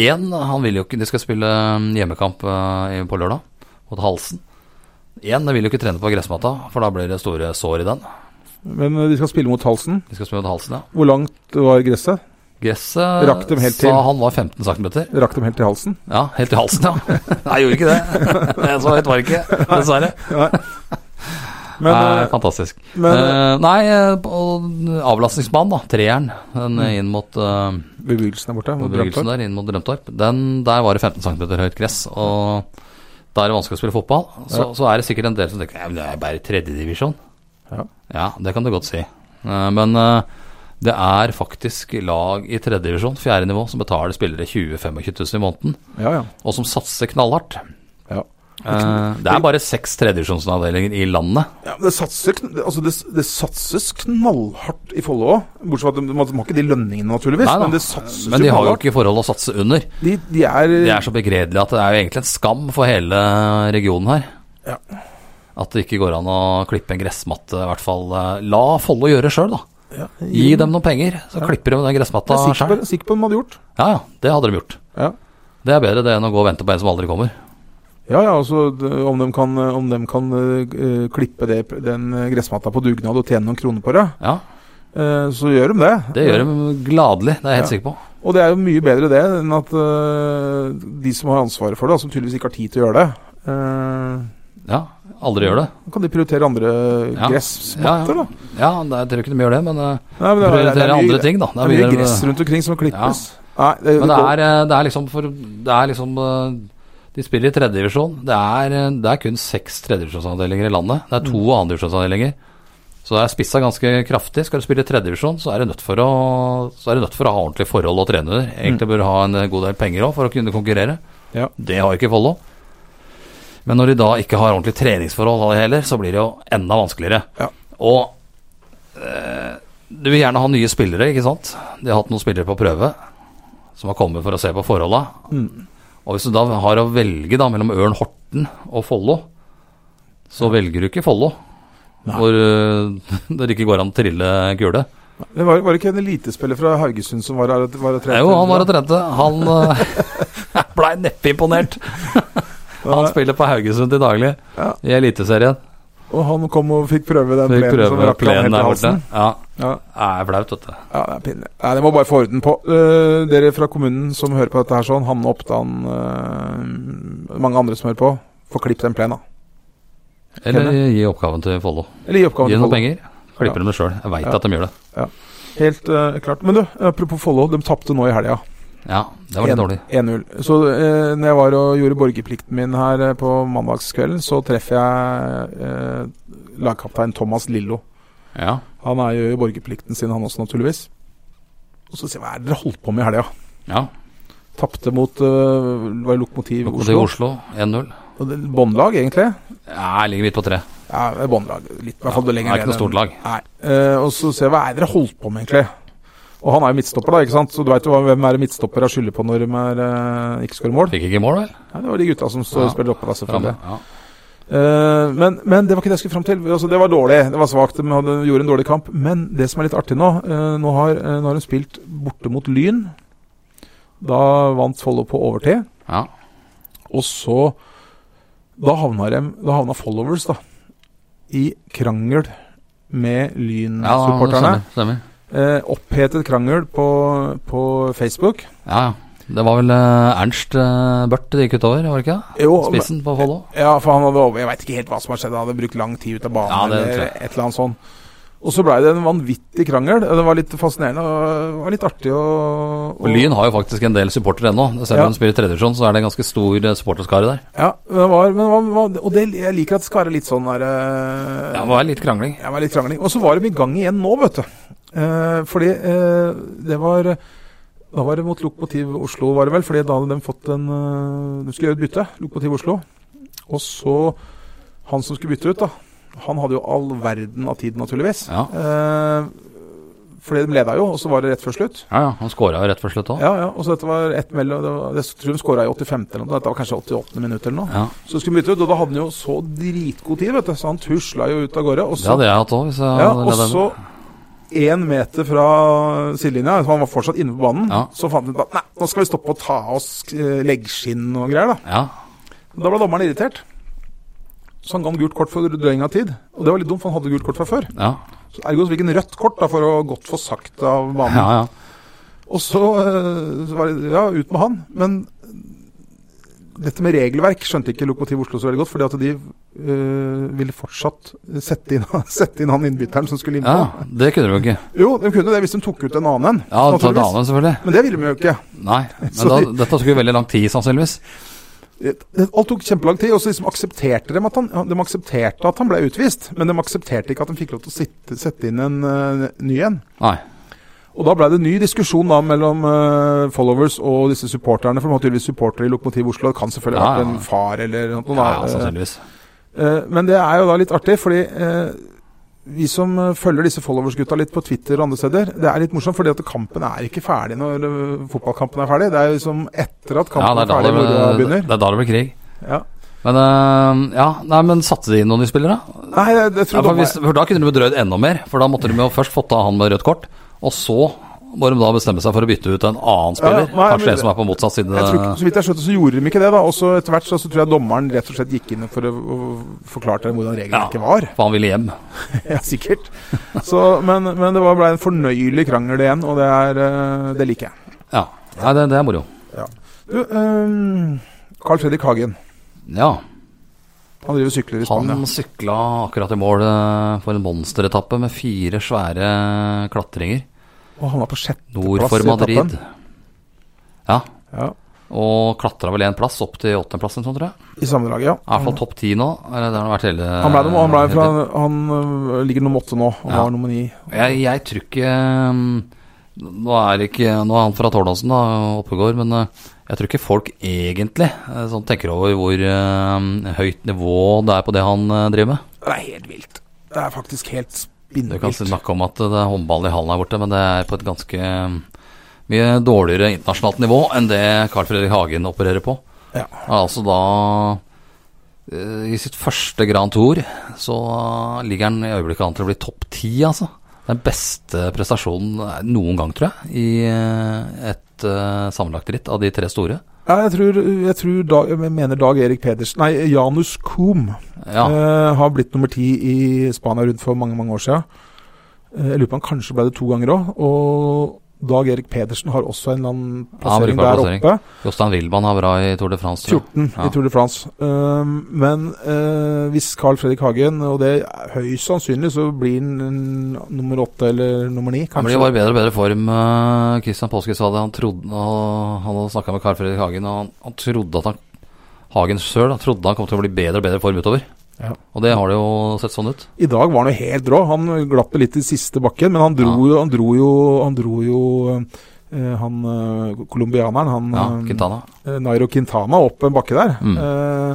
[SPEAKER 2] Én, han vil jo ikke De skal spille mm, hjemmekamp eh, i- på lørdag, mot Halsen. Én, de vil jo ikke trene på gressmatta, for da blir det store sår i den.
[SPEAKER 3] Men eh, de skal spille mot halsen.
[SPEAKER 2] De skal spille mot Halsen, ja.
[SPEAKER 3] Hvor langt var gresset?
[SPEAKER 2] Gresset
[SPEAKER 3] Rakk dem helt til.
[SPEAKER 2] sa han var 15 cm.
[SPEAKER 3] Rakk dem helt til halsen?
[SPEAKER 2] Ja, helt til halsen, ja. Nei, gjorde ikke det. Så høyt var det ikke, dessverre.
[SPEAKER 3] Men,
[SPEAKER 2] Nei,
[SPEAKER 3] eh,
[SPEAKER 2] fantastisk.
[SPEAKER 3] men eh,
[SPEAKER 2] Eh, nei, eh, og avlastningsbanen, da. Treeren. Den
[SPEAKER 3] Mm.
[SPEAKER 2] eh, inn mot eh,
[SPEAKER 3] bebyggelsen er borte. mot
[SPEAKER 2] bebyggelsen
[SPEAKER 3] Brøndtorp.
[SPEAKER 2] der, inn mot Drømtorp. Den, der var det 15 cm høyt gress. Og da er det vanskelig å spille fotball. Så, så er det sikkert en del som tenker ja, men det er bare tredjedivisjon.
[SPEAKER 3] Ja.
[SPEAKER 2] ja, det kan du godt si. Eh, Men eh, det er faktisk lag i tredjedivisjon, fjerde nivå, som betaler spillere 20 000-25 000 i måneden,
[SPEAKER 3] Ja, ja.
[SPEAKER 2] og som satser knallhardt.
[SPEAKER 3] ja.
[SPEAKER 2] Eh, Det er bare seks tredjedivisjonsavdelinger i landet.
[SPEAKER 3] ja men det, satser, kn- altså det, det satses knallhardt i Follo òg. Bortsett fra at de, man har ikke de lønningene, naturligvis.
[SPEAKER 2] Nei da,
[SPEAKER 3] men det satses
[SPEAKER 2] Men de
[SPEAKER 3] jo
[SPEAKER 2] har jo
[SPEAKER 3] knallhardt.
[SPEAKER 2] ikke forhold å satse under.
[SPEAKER 3] De, de er,
[SPEAKER 2] Det er så begredelig at det er jo egentlig en skam for hele regionen her.
[SPEAKER 3] Ja.
[SPEAKER 2] At det ikke går an å klippe en gressmatte, i hvert fall. eh, La Follo gjøre sjøl, da.
[SPEAKER 3] ja,
[SPEAKER 2] Gi dem noen penger, så klipper de den gressmatta
[SPEAKER 3] Jeg er sikker
[SPEAKER 2] sjøl.
[SPEAKER 3] på- sikker på hva de hadde gjort.
[SPEAKER 2] Ja ja, det hadde de gjort.
[SPEAKER 3] Ja.
[SPEAKER 2] Det er bedre det enn å gå og vente på en som aldri kommer.
[SPEAKER 3] Ja, ja, altså d- om de kan, om de kan eh, eh, klippe det, den eh, gressmatta på dugnad og tjene noen kroner på det,
[SPEAKER 2] Ja,
[SPEAKER 3] eh, så gjør de det.
[SPEAKER 2] det gjør de gladelig, det er jeg helt
[SPEAKER 3] Ja.
[SPEAKER 2] sikker på.
[SPEAKER 3] Og det er jo mye bedre det enn at eh, de som har ansvaret for det, og som tydeligvis ikke har tid til å gjøre det, eh,
[SPEAKER 2] Ja, aldri gjør det.
[SPEAKER 3] kan de prioritere andre
[SPEAKER 2] Ja.
[SPEAKER 3] gressmatter,
[SPEAKER 2] Ja,
[SPEAKER 3] da.
[SPEAKER 2] Ja, det- jeg tror ikke de gjør det, men eh,
[SPEAKER 3] Nei, men det er- det er
[SPEAKER 2] prioritere
[SPEAKER 3] mye-
[SPEAKER 2] andre ting, da.
[SPEAKER 3] Det er mye
[SPEAKER 2] de-
[SPEAKER 3] gress rundt omkring som klippes. Nei, det,
[SPEAKER 2] Men det
[SPEAKER 3] går-
[SPEAKER 2] er, eh, det er liksom for Det er liksom eh, De spiller i tredjedivisjon. Det, er, eh, det er kun seks tredjedivisjonsavdelinger i landet. Det er to andredivisjonsavdelinger. Så det er spissa ganske kraftig. Skal du spille i tredjedivisjon, så er du nødt for å Så er du nødt for å ha ordentlige forhold å trene under. Egentlig bør du ha en eh, god del penger òg for å kunne konkurrere.
[SPEAKER 3] Ja.
[SPEAKER 2] Det har ikke Follo. Men når de da ikke har ordentlig treningsforhold heller, så blir det jo enda vanskeligere.
[SPEAKER 3] Ja.
[SPEAKER 2] Og eh, du vil gjerne ha nye spillere, ikke sant? De har hatt noen spillere på prøve som har kommet for å se på forholda.
[SPEAKER 3] Mm.
[SPEAKER 2] Og hvis du da har å velge da mellom Ørn Horten og Follo, så velger du ikke Follo.
[SPEAKER 3] Nei.
[SPEAKER 2] Hvor øh, det ikke går an å trille gule.
[SPEAKER 3] det var, var det ikke en elitespiller fra Haugesund som var her og- var og
[SPEAKER 2] Nei,
[SPEAKER 3] trente?
[SPEAKER 2] Jo, han var og trente. Han øh, blei neppe imponert. Han spiller på Haugesund til daglig
[SPEAKER 3] Ja.
[SPEAKER 2] i Eliteserien.
[SPEAKER 3] Og han kom og fikk prøve den
[SPEAKER 2] Fikk
[SPEAKER 3] plenen som
[SPEAKER 2] prøve
[SPEAKER 3] rakk han
[SPEAKER 2] plenen
[SPEAKER 3] helt i
[SPEAKER 2] der borte.
[SPEAKER 3] halsen.
[SPEAKER 2] Ja,
[SPEAKER 3] Ja.
[SPEAKER 2] det er flaut, vet du.
[SPEAKER 3] Ja, det er pinlig. Nei, det må bare få orden på. Eh, dere fra kommunen som hører på dette her sånn, Hanne Oppdan, eh, mange andre som hører på, få klipp den plenen. da.
[SPEAKER 2] Eller
[SPEAKER 3] Kenne.
[SPEAKER 2] gi oppgaven til Follo.
[SPEAKER 3] Eller gi
[SPEAKER 2] Gi
[SPEAKER 3] oppgaven til
[SPEAKER 2] noen
[SPEAKER 3] Follo.
[SPEAKER 2] penger. Klipper dem sjøl. Jeg veit
[SPEAKER 3] Ja.
[SPEAKER 2] at de gjør det.
[SPEAKER 3] Helt eh, klart. Men du, apropos Follo, de tapte nå i helga.
[SPEAKER 2] Ja, det var litt dårlig.
[SPEAKER 3] 1-0. Så eh, når jeg var og gjorde borgerplikten min her eh, på mandagskvelden, så treffer jeg eh, lagkaptein Thomas Lillo.
[SPEAKER 2] Ja.
[SPEAKER 3] Han er jo i borgerplikten sin, han også, naturligvis. Og så sier jeg, hva er det dere holdt på med i helga?
[SPEAKER 2] ja.
[SPEAKER 3] Tapte mot eh, var det Lokomotiv
[SPEAKER 2] Og til
[SPEAKER 3] Oslo.
[SPEAKER 2] Oslo 1-0.
[SPEAKER 3] Og det- Båndlag, egentlig.
[SPEAKER 2] Ja, jeg ligger midt på tre.
[SPEAKER 3] Ja, det er båndlag. Litt, i hvert fall
[SPEAKER 2] Ja,
[SPEAKER 3] det lenger
[SPEAKER 2] det er ikke
[SPEAKER 3] ned
[SPEAKER 2] noe stort
[SPEAKER 3] enn-
[SPEAKER 2] lag.
[SPEAKER 3] Nei. Eh, og så ser jeg hva er det dere holdt på med, egentlig. Og han er jo midtstopper, da, ikke sant. Så du veit jo hva- hvem er det midtstoppere skylder på når de er, eh, ikke skårer mål?
[SPEAKER 2] Fikk ikke mål, vel?
[SPEAKER 3] Ja, det var de gutta som står og
[SPEAKER 2] Ja.
[SPEAKER 3] spiller oppe, da, selvfølgelig.
[SPEAKER 2] Framme. Ja.
[SPEAKER 3] Eh, men, men det var ikke det jeg skulle fram til. Altså, det var dårlig. Det var svakt. De hadde, gjorde en dårlig kamp. Men det som er litt artig nå eh, nå, har, eh, nå har de spilt borte mot Lyn. Da vant Follo på overtid.
[SPEAKER 2] Ja.
[SPEAKER 3] Og så Da havna, dem, da havna followers da i krangel med
[SPEAKER 2] ja, det
[SPEAKER 3] Lyn-supporterne.
[SPEAKER 2] stemmer. stemmer.
[SPEAKER 3] eh, opphetet krangel på, på Facebook.
[SPEAKER 2] Ja, ja. Det var vel eh, Ernst eh, Børth det gikk utover, var det ikke? det?
[SPEAKER 3] Jo, men-
[SPEAKER 2] Spissen på Follo.
[SPEAKER 3] ja, for han hadde over Jeg veit ikke helt hva som har skjedd. Han hadde brukt lang tid ut av banen
[SPEAKER 2] Ja, det
[SPEAKER 3] eller
[SPEAKER 2] tror jeg.
[SPEAKER 3] et eller annet sånt. Og så blei det en vanvittig krangel. og Det var litt fascinerende og det var litt artig å
[SPEAKER 2] Og Lyn har jo faktisk en del supportere ennå. Selv om
[SPEAKER 3] Ja.
[SPEAKER 2] de spiller tredje divisjon, så er det en ganske stor eh, supporterskare der.
[SPEAKER 3] Ja, men det var, men det var, var- og det, jeg liker at det skal være litt sånn der eh,
[SPEAKER 2] Ja, det var litt krangling.
[SPEAKER 3] Jeg var litt krangling. Og så var de i gang igjen nå, vet du. Eh, fordi eh, det var Da var det mot Lokomotiv Oslo, var det vel. Fordi da hadde de fått en eh, De skulle gjøre et bytte, Lokomotiv Oslo. Og så Han som skulle bytte ut, da. Han hadde jo all verden av tid, naturligvis.
[SPEAKER 2] Ja.
[SPEAKER 3] Eh, fordi de leda jo, og så var det rett før slutt.
[SPEAKER 2] Ja, ja, Han skåra jo rett før slutt òg.
[SPEAKER 3] Ja, ja, og så dette var ett mellom det var, Jeg tror de skåra i 85. eller noe, dette var kanskje 88. minutt eller noe.
[SPEAKER 2] Ja.
[SPEAKER 3] Så skulle de bytte ut, og da hadde han jo så dritgod tid, vet du. Så han tusla jo ut av gårde. Og
[SPEAKER 2] Det
[SPEAKER 3] så
[SPEAKER 2] hadde jeg hatt òg. hvis jeg
[SPEAKER 3] ja,
[SPEAKER 2] hadde
[SPEAKER 3] og
[SPEAKER 2] ledd den.
[SPEAKER 3] så én meter fra sidelinja, han var fortsatt inne på banen,
[SPEAKER 2] Ja.
[SPEAKER 3] så fant han ut at nei, nå skal vi stoppe og ta av oss eh, leggskinn og greier. Da
[SPEAKER 2] ja.
[SPEAKER 3] Da ble dommeren irritert. Så han ga han gult kort for drøying av tid. Og det var litt dumt, for han hadde gult kort fra før.
[SPEAKER 2] Ja,
[SPEAKER 3] Så Ergo så fikk han rødt kort da, for å gått for sakte av banen.
[SPEAKER 2] ja. ja.
[SPEAKER 3] Og så, eh, så var det ja, ut med han. Men dette med regelverk skjønte ikke Lokomotiv Oslo så veldig godt, fordi at de eh, ville fortsatt sette inn, sette inn han innbytteren som skulle innpå.
[SPEAKER 2] ja det kunne du jo ikke.
[SPEAKER 3] Jo, de kunne det hvis de tok ut en annen en.
[SPEAKER 2] Ja, ta
[SPEAKER 3] naturligvis.
[SPEAKER 2] damene, selvfølgelig.
[SPEAKER 3] Men det ville de jo ikke.
[SPEAKER 2] Nei, men
[SPEAKER 3] Så
[SPEAKER 2] da,
[SPEAKER 3] de-
[SPEAKER 2] dette skulle veldig lang tid, sannsynligvis.
[SPEAKER 3] Det- Alt tok kjempelang tid, og så liksom aksepterte de at han, ja, de aksepterte at han ble utvist. Men de aksepterte ikke at de fikk lov til å sitte, sette inn en eh, ny en.
[SPEAKER 2] Nei.
[SPEAKER 3] Og da ble det ny diskusjon da mellom eh, followers og disse supporterne. For de har tydeligvis supportere i Lokomotiv Oslo. Det kan selvfølgelig ha
[SPEAKER 2] Ja,
[SPEAKER 3] vært
[SPEAKER 2] ja.
[SPEAKER 3] en far eller noe.
[SPEAKER 2] Ja,
[SPEAKER 3] da. Eh,
[SPEAKER 2] sannsynligvis.
[SPEAKER 3] Eh, Men det er jo da litt artig, fordi eh, vi som eh, følger disse followers-gutta litt på Twitter og andre steder, det er litt morsomt, fordi at kampen er ikke ferdig når eh, fotballkampen er ferdig. Det er jo liksom etter
[SPEAKER 2] Ja,
[SPEAKER 3] at kampen
[SPEAKER 2] det er
[SPEAKER 3] er
[SPEAKER 2] da
[SPEAKER 3] ferdig
[SPEAKER 2] det
[SPEAKER 3] hvor det
[SPEAKER 2] blir,
[SPEAKER 3] begynner.
[SPEAKER 2] det er da det blir krig.
[SPEAKER 3] Ja.
[SPEAKER 2] Men eh, ja, nei, men satte de inn noen de spillere?
[SPEAKER 3] Nei, det, det
[SPEAKER 2] Ja,
[SPEAKER 3] tror
[SPEAKER 2] for,
[SPEAKER 3] jeg
[SPEAKER 2] hvis, for da kunne de bedrøyd enda mer, for da måtte de jo først fått av han med rødt kort, og så må de da bestemme seg for å bytte ut en annen
[SPEAKER 3] Ja,
[SPEAKER 2] spiller.
[SPEAKER 3] nei, men
[SPEAKER 2] Kanskje
[SPEAKER 3] det-
[SPEAKER 2] en som er på motsatt side.
[SPEAKER 3] jeg tror, ikke- så vidt jeg skjønte, så gjorde de ikke det. da Og så Etter hvert så, så tror jeg dommeren rett og slett gikk inn for å, å forklare dem hvordan regelverket var.
[SPEAKER 2] For han ville hjem.
[SPEAKER 3] Ja, sikkert så, Men, men det var- ble en fornøyelig krangel igjen, og det, er, eh, det liker jeg.
[SPEAKER 2] Ja. Nei, det, det er moro.
[SPEAKER 3] Du, eh, Carl Fredrik Hagen.
[SPEAKER 2] Ja.
[SPEAKER 3] Han driver og sykler i Spania.
[SPEAKER 2] Han sykla akkurat i mål eh, for en monsteretappe med fire svære klatringer
[SPEAKER 3] Og han var på sjetteplass
[SPEAKER 2] nord for Madrid. Ja.
[SPEAKER 3] Ja,
[SPEAKER 2] Og klatra vel en plass opp til åttendeplassen, sånn, tror jeg.
[SPEAKER 3] I sammendraget, ja.
[SPEAKER 2] I hvert fall topp ti nå. Eller det har han vært hele
[SPEAKER 3] Han, ble, nummer- han, ble fra,
[SPEAKER 2] hele tiden.
[SPEAKER 3] han øh, ligger nummer åtte nå, og
[SPEAKER 2] Eh, Ja.
[SPEAKER 3] var nummer ni.
[SPEAKER 2] Jeg, jeg tror ikke um, Nå er, det ikke, nå er han fra Tårnåsen, da, Oppegård, men uh, jeg tror ikke folk egentlig uh, sånn tenker over hvor um, høyt nivå det er på det han uh, driver med.
[SPEAKER 3] Det er helt vilt. Det er faktisk helt
[SPEAKER 2] Du kan
[SPEAKER 3] spinnvilt.
[SPEAKER 2] snakke om at det er håndball i hallen her borte, men det er på et ganske um, mye dårligere internasjonalt nivå enn det Carl Fredrik Hagen opererer på.
[SPEAKER 3] Ja.
[SPEAKER 2] Han er Altså da uh, I sitt første Grand Tour så ligger han i øyeblikket an til å bli topp ti, altså. Den beste prestasjonen eh, noen gang, tror jeg, i uh, et uh, sammenlagt ritt av de tre store.
[SPEAKER 3] Ja, jeg tror, jeg tror Dag, jeg mener Dag Erik Pedersen Nei, Janus Kuhm
[SPEAKER 2] Ja,
[SPEAKER 3] eh, har blitt nummer ti i Spania rundt for mange, mange år siden. Eh, Jeg lurer på om han kanskje ble det to ganger òg. Og Dag Erik Pedersen har også en eller annen
[SPEAKER 2] Ja,
[SPEAKER 3] plassering
[SPEAKER 2] brukbar
[SPEAKER 3] der
[SPEAKER 2] plassering.
[SPEAKER 3] oppe.
[SPEAKER 2] Jostein Wilman er bra i Tour de France. tror jeg.
[SPEAKER 3] 14
[SPEAKER 2] Ja.
[SPEAKER 3] i Tour de France. Ehm, men eh, hvis Carl Fredrik Hagen, og det er høyst sannsynlig, så blir han eh, nummer åtte eller nummer ni,
[SPEAKER 2] Han blir
[SPEAKER 3] kanskje.
[SPEAKER 2] jo bare i bedre og bedre form. eh, Christian Påske sa det. Han trodde og Han hadde snakka med Carl Fredrik Hagen, og han, han trodde at han Hagen sjøl trodde han kom til å bli bedre og bedre form utover.
[SPEAKER 3] Ja.
[SPEAKER 2] Og det har det jo sett sånn ut.
[SPEAKER 3] I dag var han jo helt rå. Han glapp det litt i siste bakken, men han dro,
[SPEAKER 2] Ja.
[SPEAKER 3] jo- han dro jo Han dro jo eh, han eh, colombianeren, han
[SPEAKER 2] Ja,
[SPEAKER 3] eh,
[SPEAKER 2] Quintana.
[SPEAKER 3] eh, Nairo Quintana, opp en bakke der.
[SPEAKER 2] Mm.
[SPEAKER 3] Eh,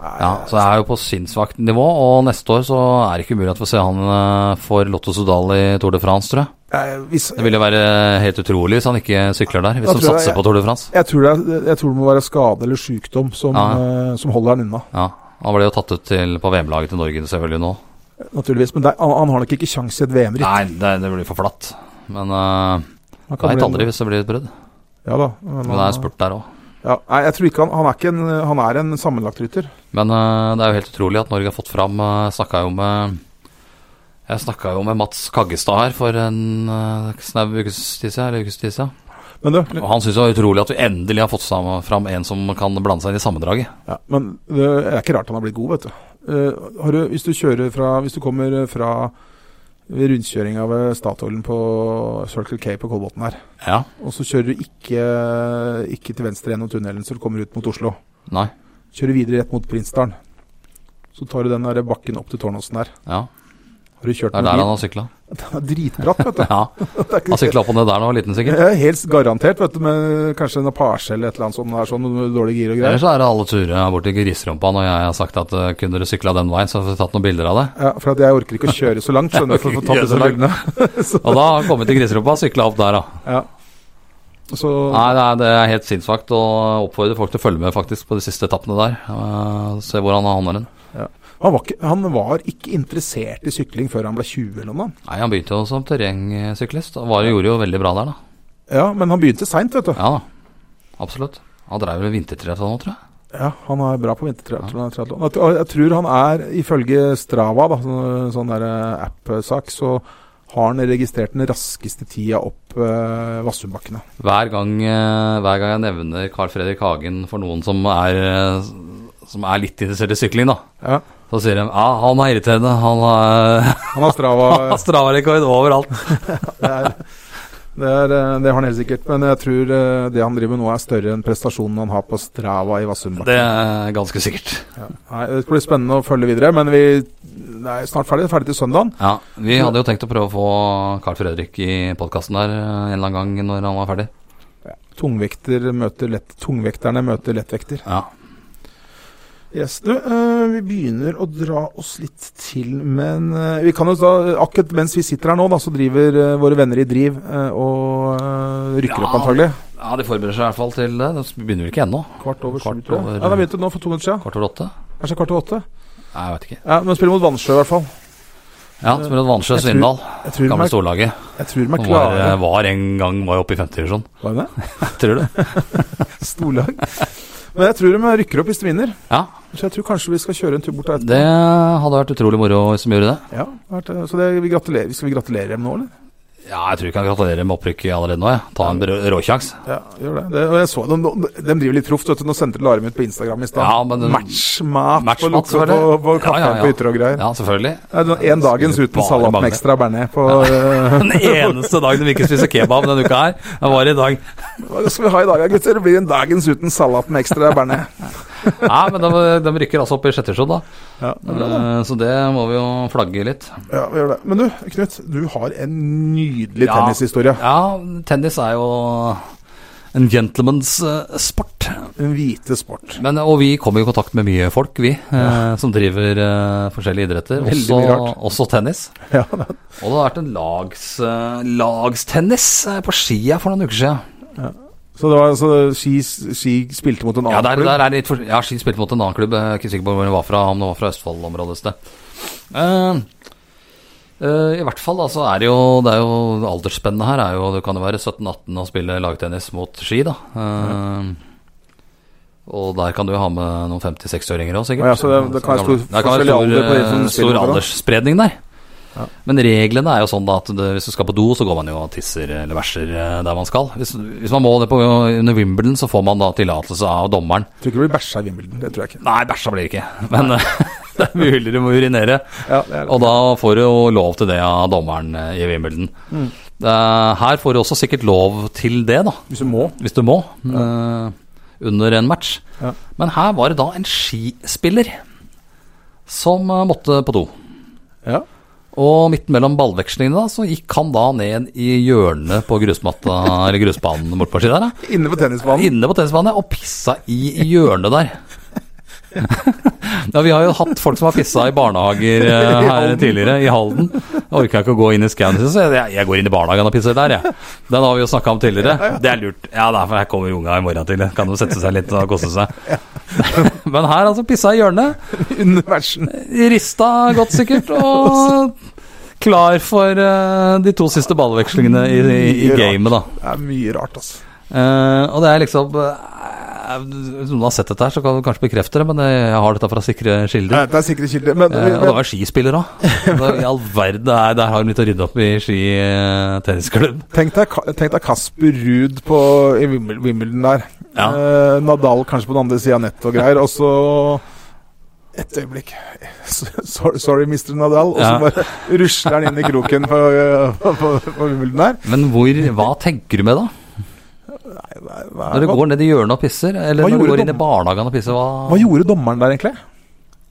[SPEAKER 3] nei,
[SPEAKER 2] Ja, så det er jo på sinnssvakt nivå, og neste år så er det ikke umulig at vi får se han eh, for Lotto Sudal i Tour de France, tror jeg.
[SPEAKER 3] eh, hvis,
[SPEAKER 2] Det ville være helt utrolig hvis han ikke sykler der,
[SPEAKER 3] Da
[SPEAKER 2] hvis de
[SPEAKER 3] tror jeg-
[SPEAKER 2] satser på Tour de France.
[SPEAKER 3] jeg, tror det er, jeg tror det må være skade eller sykdom som, eh, som holder han unna.
[SPEAKER 2] Ja, Han ble jo tatt ut til, på VM-laget til Norge selvfølgelig nå.
[SPEAKER 3] Naturligvis, Men det, han, han har nok ikke kjangs i et VM-ritt.
[SPEAKER 2] Nei, det, det blir for flatt. Men uh,
[SPEAKER 3] Han kan
[SPEAKER 2] veit
[SPEAKER 3] bli-
[SPEAKER 2] aldri hvis det blir et brudd.
[SPEAKER 3] Ja da. Men,
[SPEAKER 2] Men det er spurt der òg.
[SPEAKER 3] Ja, nei, jeg tror ikke han, han er ikke en, han er en sammenlagtrytter.
[SPEAKER 2] Men eh, det er jo helt utrolig at Norge har fått fram uh, Snakka jo med Jeg snakka jo med Mats Kaggestad her for en uh, snau ukes tid siden. eller ukes tid siden.
[SPEAKER 3] Men, du,
[SPEAKER 2] Og han syns det var utrolig at vi endelig har fått sam- fram en som kan blande seg inn i sammendraget.
[SPEAKER 3] ja, men det er ikke rart han har blitt god, vet du. Eh, har du hvis du kjører fra Hvis du kommer fra ved rundkjøringa ved Statoilen på Circle K på Kolbotn her.
[SPEAKER 2] Ja.
[SPEAKER 3] Og så kjører du ikke, ikke til venstre gjennom tunnelen så du kommer ut mot Oslo.
[SPEAKER 2] Nei.
[SPEAKER 3] Kjører videre rett mot Prinsdalen. Så tar du den der bakken opp til Tårnåsen der.
[SPEAKER 2] Ja.
[SPEAKER 3] Har du kjørt
[SPEAKER 2] Det er der
[SPEAKER 3] med
[SPEAKER 2] han
[SPEAKER 3] bil?
[SPEAKER 2] har sykla.
[SPEAKER 3] Det er dritbratt, vet du.
[SPEAKER 2] Ja.
[SPEAKER 3] Det er ikke-
[SPEAKER 2] Han sykla opp og ned der da han var liten, sikkert.
[SPEAKER 3] Ja, Helt garantert, vet du, med kanskje en Apache eller et eller annet sånt der, sånn, med dårlig gir og
[SPEAKER 2] Ellers
[SPEAKER 3] greier.
[SPEAKER 2] så er det alle turer bort til grisrumpa når jeg har sagt at eh, kunne dere sykla den veien, så har vi tatt noen bilder av det.
[SPEAKER 3] Ja, for at jeg orker ikke å kjøre så langt, skjønner du, for å få tatt
[SPEAKER 2] Kjøre så
[SPEAKER 3] disse
[SPEAKER 2] langt.
[SPEAKER 3] bildene.
[SPEAKER 2] Og da har jeg kommet til grisrumpa og sykla opp der, da.
[SPEAKER 3] Ja. Så
[SPEAKER 2] Nei, det er, det er helt sinnssvakt. Og oppfordrer folk til å følge med faktisk på de siste etappene der. Eh, se hvor han havner hen.
[SPEAKER 3] han var, ikke, han var ikke interessert i sykling før han ble 20 eller noe.
[SPEAKER 2] Nei, han begynte jo som terrengsyklist. Og var, gjorde jo veldig bra der, da.
[SPEAKER 3] Ja, men han begynte seint, vet du.
[SPEAKER 2] Ja da. Absolutt. Han dreiv vel vintertriatlon nå, tror jeg.
[SPEAKER 3] Ja, han er bra på vintertriatlon. Jeg, tror- jeg tror han er, ifølge Strava, da, sånn, sånn der eh, app-sak, så har han registrert den raskeste tida opp eh, Vassumbakkene.
[SPEAKER 2] Hver gang, eh, hver gang jeg nevner Carl Fredrik Hagen for noen som er, eh, som er litt interessert i sykling, da,
[SPEAKER 3] Ja.
[SPEAKER 2] så sier de ja, han er irriterende. Han har,
[SPEAKER 3] Han har
[SPEAKER 2] han
[SPEAKER 3] Strava. eh,
[SPEAKER 2] har stravarekord overalt.
[SPEAKER 3] Det, er, det, er, eh, det har han helt sikkert. Men jeg tror eh, det han driver med nå, er større enn prestasjonen han har på Strava i Vassumbakken.
[SPEAKER 2] Det er ganske sikkert.
[SPEAKER 3] Ja. Nei, det blir spennende å følge videre, men vi det er snart ferdig. Ferdig til søndagen.
[SPEAKER 2] Ja, Vi hadde jo tenkt å prøve å få Carl Fredrik i podkasten der eh, en eller annen gang når han var ferdig.
[SPEAKER 3] Tungvekter møter lett, tungvekterne møter lettvekter.
[SPEAKER 2] Ja,
[SPEAKER 3] Yes, du, eh, vi begynner å dra oss litt til, men eh, vi kan jo da, akkurat mens vi sitter her nå, da, så driver eh, våre venner i driv eh, og eh, rykker
[SPEAKER 2] Ja.
[SPEAKER 3] opp antagelig.
[SPEAKER 2] ja De forbereder seg i hvert fall til det. De begynner vel ikke ennå.
[SPEAKER 3] Kvart over sju,
[SPEAKER 2] Kvart
[SPEAKER 3] tror
[SPEAKER 2] over-
[SPEAKER 3] jeg. Ja, det begynte nå for to minutter siden.
[SPEAKER 2] Kvart over åtte?
[SPEAKER 3] Kanskje kvart over åtte.
[SPEAKER 2] Nei, jeg vet ikke.
[SPEAKER 3] Ja, men spiller mot Vannsjø i hvert fall.
[SPEAKER 2] Ja, så blir det Vansjø
[SPEAKER 3] Eh, Jeg tror-
[SPEAKER 2] Svindal.
[SPEAKER 3] Jeg tror de
[SPEAKER 2] Gamle
[SPEAKER 3] er,
[SPEAKER 2] storlaget.
[SPEAKER 3] jeg tror de
[SPEAKER 2] Som
[SPEAKER 3] er
[SPEAKER 2] var, eh,
[SPEAKER 3] klare.
[SPEAKER 2] var en gang var jo oppe i sånn. femtedivisjon.
[SPEAKER 3] Var det det?
[SPEAKER 2] Tror du?
[SPEAKER 3] Storlag. Men jeg tror de rykker opp hvis de vinner.
[SPEAKER 2] Ja,
[SPEAKER 3] Så jeg tror kanskje vi skal kjøre en tur bort der etterpå.
[SPEAKER 2] Det hadde vært utrolig moro hvis de gjorde det.
[SPEAKER 3] Ja, det har vært det. så det, vi gratulerer. Skal vi gratulere dem nå, eller?
[SPEAKER 2] Ja, Jeg tror vi kan gratulere med opprykket allerede nå. Ja. Ta en rå- råkjangs.
[SPEAKER 3] Ja, gjør det. det og jeg så dem, de driver litt proft, vet du. Nå sendte de Larum ut på Instagram i stad.
[SPEAKER 2] Ja, men den-
[SPEAKER 3] Matchmat
[SPEAKER 2] Matchmat,
[SPEAKER 3] på, Lokka-
[SPEAKER 2] var det?
[SPEAKER 3] på, på kaffen
[SPEAKER 2] Ja, ja, ja.
[SPEAKER 3] på Ytre og greier.
[SPEAKER 2] Ja, selvfølgelig.
[SPEAKER 3] Det er sånn En dagens
[SPEAKER 2] Skulle
[SPEAKER 3] uten
[SPEAKER 2] bare
[SPEAKER 3] salat
[SPEAKER 2] mangle.
[SPEAKER 3] med ekstra bearnés på eh,
[SPEAKER 2] Den eneste dagen de ikke spiser kebab denne uka her, det var i dag.
[SPEAKER 3] Hva skal vi ha i dag, gutter? Det blir en dagens uten salat med ekstra bearnés.
[SPEAKER 2] Nei, men de, de rykker altså opp i sjette divisjon, da.
[SPEAKER 3] Ja, det er bra, da.
[SPEAKER 2] Eh, Så det må vi jo flagge litt.
[SPEAKER 3] ja, vi gjør det. Men du, Knut. Du har en nydelig
[SPEAKER 2] Ja.
[SPEAKER 3] tennishistorie.
[SPEAKER 2] Ja, tennis er jo en gentleman's eh, sport.
[SPEAKER 3] En hvite sport.
[SPEAKER 2] Men, og vi kommer jo i kontakt med mye folk, vi, eh, som driver eh, forskjellige idretter.
[SPEAKER 3] Veldig
[SPEAKER 2] Også,
[SPEAKER 3] mye rart.
[SPEAKER 2] også tennis.
[SPEAKER 3] Ja, det er-
[SPEAKER 2] Og det har vært en lags, eh, lagstennis eh, på skia for noen uker siden.
[SPEAKER 3] så det var altså ski, ski spilte mot en
[SPEAKER 2] Ja,
[SPEAKER 3] annen
[SPEAKER 2] der,
[SPEAKER 3] klubb?
[SPEAKER 2] der er det litt for... ja, Ski spilte mot en annen klubb. Jeg er ikke sikker på hvor den var fra, om det var fra Østfold-området et sted. Eh, eh, I hvert fall, da, så er det jo, det er jo aldersspennet her er jo Du kan jo være 17-18 og spille lagtennis mot ski, da. Eh, Og der kan du jo ha med noen 50-60-åringer òg, sikkert.
[SPEAKER 3] Ja, så det- det kan
[SPEAKER 2] Gamle.
[SPEAKER 3] være stor-
[SPEAKER 2] Det kan være
[SPEAKER 3] forskjellig alder på
[SPEAKER 2] stor,
[SPEAKER 3] de som
[SPEAKER 2] eh, stor
[SPEAKER 3] spiller mot det, da.
[SPEAKER 2] aldersspredning der. Men reglene er jo sånn da at det, hvis du skal på do, så går man jo og tisser eller bæsjer eh, der man skal. Hvis, hvis man må det på, under Wimbledon, så får man da tillatelse av dommeren.
[SPEAKER 3] Jeg tror ikke det blir bæsja i Wimbledon. Det tror jeg ikke.
[SPEAKER 2] Nei, bæsja blir det ikke, men det er mulig du må urinere.
[SPEAKER 3] Ja, det er det.
[SPEAKER 2] Og da får du jo lov til det av dommeren eh, i Wimbledon.
[SPEAKER 3] Mm.
[SPEAKER 2] Det er- Her får du også sikkert lov til det, da,
[SPEAKER 3] Hvis du må.
[SPEAKER 2] hvis du må, eh, under en match.
[SPEAKER 3] Ja.
[SPEAKER 2] Men her var det da en skispiller som eh, måtte på do.
[SPEAKER 3] Ja.
[SPEAKER 2] Og midt mellom ballvekslingene da, så gikk han da ned i hjørnet på grusmatta, eller grusbanen bortpå siden der. da.
[SPEAKER 3] Inne på tennisbanen.
[SPEAKER 2] Inne på tennisbanen og pissa i hjørnet der. ja, vi har jo hatt folk som har pissa i barnehager eh, her tidligere, i Halden. Jeg orka ikke å gå inn i skauen, så jeg, jeg går inn i barnehagen og pisser der, jeg. Den har vi jo snakka om tidligere. Det er lurt. Ja, da, for her kommer unga i morgen tidlig. Kan jo sette seg litt og kose seg. Men her, altså, pissa i hjørnet.
[SPEAKER 3] Under matchen.
[SPEAKER 2] Rista godt, sikkert. Og klar for eh, de to siste ballvekslingene i, i, i gamet, da.
[SPEAKER 3] Det er mye rart, altså.
[SPEAKER 2] Eh, og det er liksom eh, Hvis noen har sett dette her, så kan du kanskje bekrefte det, men eh, jeg har dette fra sikre kilder.
[SPEAKER 3] Nei, Det er sikre kilder. Men,
[SPEAKER 2] Eh, og det
[SPEAKER 3] men,
[SPEAKER 2] var skispiller òg. I all verden, det er, der har de litt å rydde opp i ski eh, tennisklubb.
[SPEAKER 3] tenk deg, Ka- tenk deg Kasper Ruud på, i Wimbledon, Wimbledon der.
[SPEAKER 2] Ja.
[SPEAKER 3] Eh, Nadal kanskje på den andre sida av nettet og greier. Og så et øyeblikk Sorry, sorry Mr. Nadal. Og så
[SPEAKER 2] Ja.
[SPEAKER 3] bare rusler han inn i kroken på, på, på, på Wimbledon der.
[SPEAKER 2] Men hvor, hva tenker du med da?
[SPEAKER 3] Nei, hva- hva-
[SPEAKER 2] Når du
[SPEAKER 3] hva-
[SPEAKER 2] går ned i hjørnet og pisser? Eller
[SPEAKER 3] Hva
[SPEAKER 2] når du
[SPEAKER 3] gjorde
[SPEAKER 2] går inn i
[SPEAKER 3] dom-
[SPEAKER 2] barnehagen og pisser? Hva,
[SPEAKER 3] Hva gjorde dommeren der, egentlig?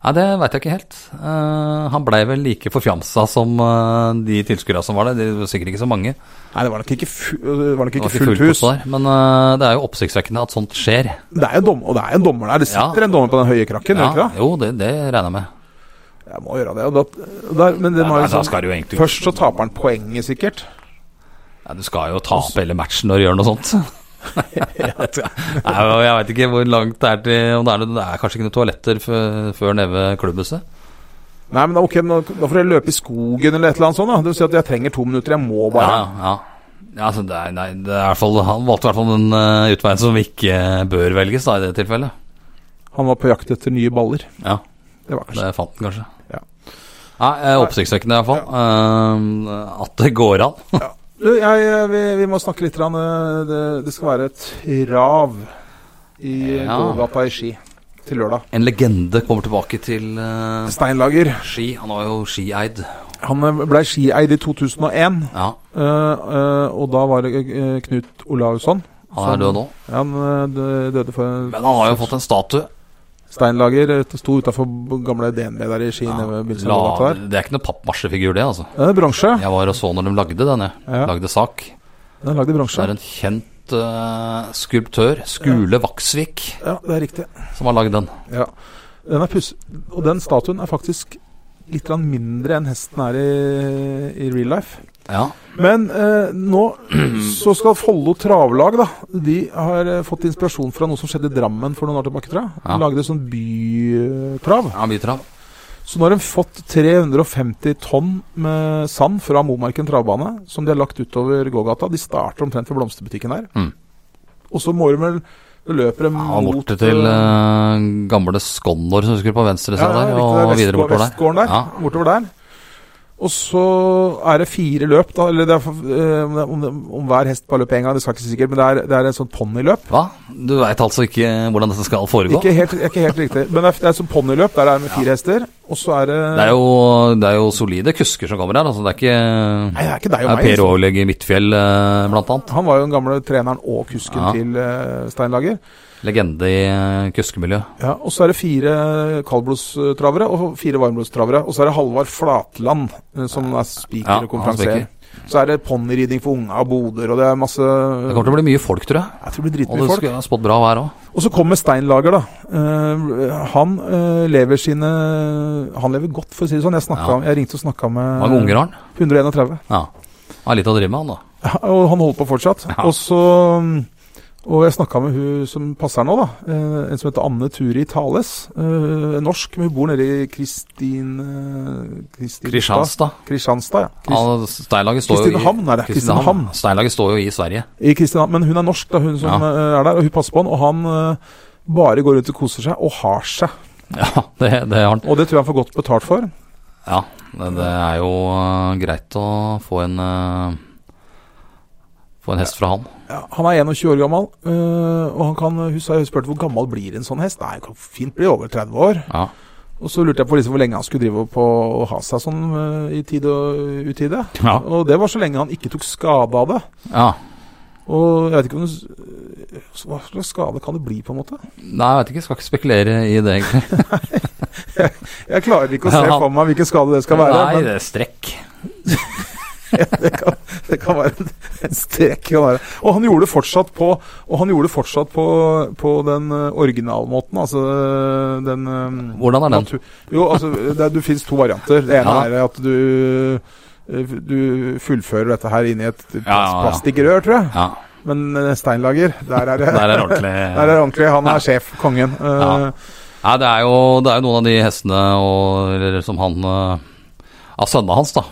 [SPEAKER 2] Nei, det veit jeg ikke helt. Eh, han blei vel like forfjamsa som eh, de tilskuerne som var der. Det var sikkert ikke så mange.
[SPEAKER 3] Nei, det var nok ikke, fu det var nok
[SPEAKER 2] Det
[SPEAKER 3] ikke
[SPEAKER 2] var
[SPEAKER 3] fullt
[SPEAKER 2] fullt
[SPEAKER 3] hus.
[SPEAKER 2] forsvar, Men eh, det er jo oppsiktsvekkende at sånt skjer.
[SPEAKER 3] Det er jo dom og det er en dommer der. Det sitter
[SPEAKER 2] Ja.
[SPEAKER 3] en dommer på den høye krakken, gjør
[SPEAKER 2] Ja,
[SPEAKER 3] det ikke det?
[SPEAKER 2] jo, det, det regner jeg med.
[SPEAKER 3] Jeg må gjøre det. Og da, der, men den
[SPEAKER 2] Ja,
[SPEAKER 3] har jo
[SPEAKER 2] nei, da
[SPEAKER 3] sånn-
[SPEAKER 2] skal du jo egentlig-
[SPEAKER 3] Først så taper han poenget, sikkert.
[SPEAKER 2] Nei, du skal jo tape hele matchen når du gjør noe sånt. Nei, og jeg veit ikke hvor langt det er til om det, er, noe- det er kanskje ikke noen toaletter før, før nede ved klubbhuset.
[SPEAKER 3] Nei, men da, ok, nå, da får jeg løpe i skogen eller et eller annet sånt. Da. Det vil si at jeg trenger to minutter. Jeg må
[SPEAKER 2] Ja,
[SPEAKER 3] bare.
[SPEAKER 2] ja. ja altså, det er, nei, det er i hvert fall, han valgte i hvert fall den eh, utveien som ikke eh, bør velges, da, i det tilfellet.
[SPEAKER 3] Han var på jakt etter nye baller.
[SPEAKER 2] Ja,
[SPEAKER 3] Det var kanskje
[SPEAKER 2] det fant den kanskje.
[SPEAKER 3] Ja.
[SPEAKER 2] Nei, eh, Oppsiktsvekkende i hvert fall. Eh, at det går an.
[SPEAKER 3] Du, jeg, eh, vi, vi må snakke litt. grann, eh, Det, det skal være et rav i eh,
[SPEAKER 2] Ja.
[SPEAKER 3] gågata i Ski til lørdag.
[SPEAKER 2] En legende kommer tilbake til eh,
[SPEAKER 3] Steinlager.
[SPEAKER 2] Ski. Han var jo skieid.
[SPEAKER 3] Han eh, ble skieid i 2001.
[SPEAKER 2] Ja,
[SPEAKER 3] eh, eh, og da var det eh, Knut Olausson.
[SPEAKER 2] han er død nå.
[SPEAKER 3] Han eh, dø- døde for
[SPEAKER 2] Men han har jo fått en statue.
[SPEAKER 3] Steinlager eh, sto utafor gamle DNB der i Ski.
[SPEAKER 2] Ja,
[SPEAKER 3] nede ved begynnelsen av
[SPEAKER 2] la,
[SPEAKER 3] gågata der.
[SPEAKER 2] det er ikke noe pappmasjefigur, det, altså.
[SPEAKER 3] Det er bronse.
[SPEAKER 2] Jeg var og så når de lagde den, jeg.
[SPEAKER 3] Ja.
[SPEAKER 2] Lagde sak.
[SPEAKER 3] Den er lagd i
[SPEAKER 2] Det
[SPEAKER 3] bronse.
[SPEAKER 2] er en kjent eh, skulptør, Skule Vaksvik,
[SPEAKER 3] Ja, det er riktig.
[SPEAKER 2] som har lagd den.
[SPEAKER 3] Ja. Den er puss... Og den statuen er faktisk litt grann mindre enn hesten er i, i real life.
[SPEAKER 2] Ja.
[SPEAKER 3] Men eh, nå så skal Follo travlag, da. De har eh, fått inspirasjon fra noe som skjedde i Drammen for noen år tilbake. Tror jeg. De
[SPEAKER 2] Ja.
[SPEAKER 3] lagde sånn bytrav.
[SPEAKER 2] ja mye trav.
[SPEAKER 3] Så nå har de fått 350 tonn med sand fra Momarken travbane, som de har lagt utover gågata. De starter omtrent ved blomsterbutikken der.
[SPEAKER 2] Mm.
[SPEAKER 3] Og så må de vel da løper de
[SPEAKER 2] Ja,
[SPEAKER 3] mot
[SPEAKER 2] borte til
[SPEAKER 3] eh,
[SPEAKER 2] eh, gamle Skonnor, som husker på venstre side
[SPEAKER 3] riktig,
[SPEAKER 2] der,
[SPEAKER 3] det er
[SPEAKER 2] og
[SPEAKER 3] Vestgå-
[SPEAKER 2] videre bortover der.
[SPEAKER 3] Vestgården der.
[SPEAKER 2] Ja.
[SPEAKER 3] Bortover der. Og så er det fire løp, da. Eller det er, for- eh, om, det- om, det- om hver hest bare løper én gang, det skal jeg ikke si sikkert, men det er, det er et sånt ponniløp.
[SPEAKER 2] Hva? Du veit altså ikke hvordan dette skal foregå?
[SPEAKER 3] Ikke helt, ikke helt riktig. Men det er, det er et sånt ponniløp der det er med fire hester, og så er det
[SPEAKER 2] Det er, jo, det er jo solide kusker som kommer her. Altså, det er ikke
[SPEAKER 3] Nei, det er ikke deg
[SPEAKER 2] det
[SPEAKER 3] og
[SPEAKER 2] er
[SPEAKER 3] meg.
[SPEAKER 2] Per
[SPEAKER 3] altså.
[SPEAKER 2] Aarlegg i Midtfjell, eh, blant annet.
[SPEAKER 3] Han var jo den gamle treneren og kusken
[SPEAKER 2] Ja.
[SPEAKER 3] til eh, Steinlager.
[SPEAKER 2] Legende i eh, kuskemiljø.
[SPEAKER 3] Ja, og så er det fire kaldblodstravere og fire varmblodstravere. Og så er det Halvard Flatland eh, som er speaker
[SPEAKER 2] Ja,
[SPEAKER 3] og
[SPEAKER 2] han er speaker.
[SPEAKER 3] konferansier. Så er det ponniridning for unga og boder, og det er masse
[SPEAKER 2] Det kommer til å bli mye folk, tror jeg.
[SPEAKER 3] Jeg tror det
[SPEAKER 2] Og
[SPEAKER 3] blir dritmye
[SPEAKER 2] det
[SPEAKER 3] folk.
[SPEAKER 2] skulle ha spådd bra vær òg.
[SPEAKER 3] Og så kommer Steinlager, da. Eh, han eh, lever sine Han lever godt, for å si det sånn. Jeg, snakket
[SPEAKER 2] Ja.
[SPEAKER 3] om- jeg ringte og snakka med
[SPEAKER 2] Mange unger har han.
[SPEAKER 3] 131.
[SPEAKER 2] Ja. Han er litt å drive med, han da.
[SPEAKER 3] Ja, Og han holder på fortsatt.
[SPEAKER 2] Ja.
[SPEAKER 3] Og så og jeg snakka med hun som passer nå, da. eh, En som heter Anne Turi Thales. eh, Norsk, men hun bor nede i Kristin... eh, Kristin-
[SPEAKER 2] Kristianstad.
[SPEAKER 3] Kristianstad, ja. Krist,
[SPEAKER 2] Ja, Steinlaget står jo i
[SPEAKER 3] Kristinehamn er det. Kristinehamn.
[SPEAKER 2] Steinlaget står jo i Sverige.
[SPEAKER 3] I Kristian, men hun er norsk, da, hun som eh, er der. Og hun passer på han. Og han eh, bare går rundt og koser seg, og har seg.
[SPEAKER 2] Ja, det, det har han.
[SPEAKER 3] Og det tror jeg han får godt betalt for.
[SPEAKER 2] Ja, det, det er jo øh, greit å få en øh, Få en hest fra han.
[SPEAKER 3] Ja, han er 21 år gammel, øh, og han kan hun sa- hun spurte hvor gammel blir en sånn hest. Nei, kan fint bli over 30 år.
[SPEAKER 2] Ja.
[SPEAKER 3] Og så lurte jeg på liksom hvor lenge han skulle drive på å ha seg sånn øh, i tide og utide.
[SPEAKER 2] Ja.
[SPEAKER 3] Og det var så lenge han ikke tok skade av det.
[SPEAKER 2] ja.
[SPEAKER 3] Og jeg vet ikke om du s- øh, så Hva slags skade kan det bli, på en måte?
[SPEAKER 2] Nei, jeg vet ikke. Skal ikke spekulere i det, egentlig.
[SPEAKER 3] Jeg klarer ikke å se
[SPEAKER 2] Ja.
[SPEAKER 3] for meg hvilken skade det skal være.
[SPEAKER 2] Nei,
[SPEAKER 3] men
[SPEAKER 2] det er strekk.
[SPEAKER 3] det kan, det kan være en, en strek. Kan være. Og han gjorde det fortsatt på, og han gjorde det fortsatt på, på den øh, originalmåten, altså øh, den øh,
[SPEAKER 2] Hvordan er den?
[SPEAKER 3] Natur- Jo, altså, det, du finnes to varianter. Det ene
[SPEAKER 2] Ja.
[SPEAKER 3] er at du eh, du fullfører dette her inni et plast,
[SPEAKER 2] Ja, ja, ja.
[SPEAKER 3] plastikkrør, tror jeg.
[SPEAKER 2] Ja,
[SPEAKER 3] Men eh, Steinlager, der er det
[SPEAKER 2] der er det ordentlig.
[SPEAKER 3] der er det ordentlig. Han er sjef, kongen. Eh,
[SPEAKER 2] Ja. Nei, det er jo, det er jo noen av de hestene og, eller, som han øh, Av sønnene hans, da.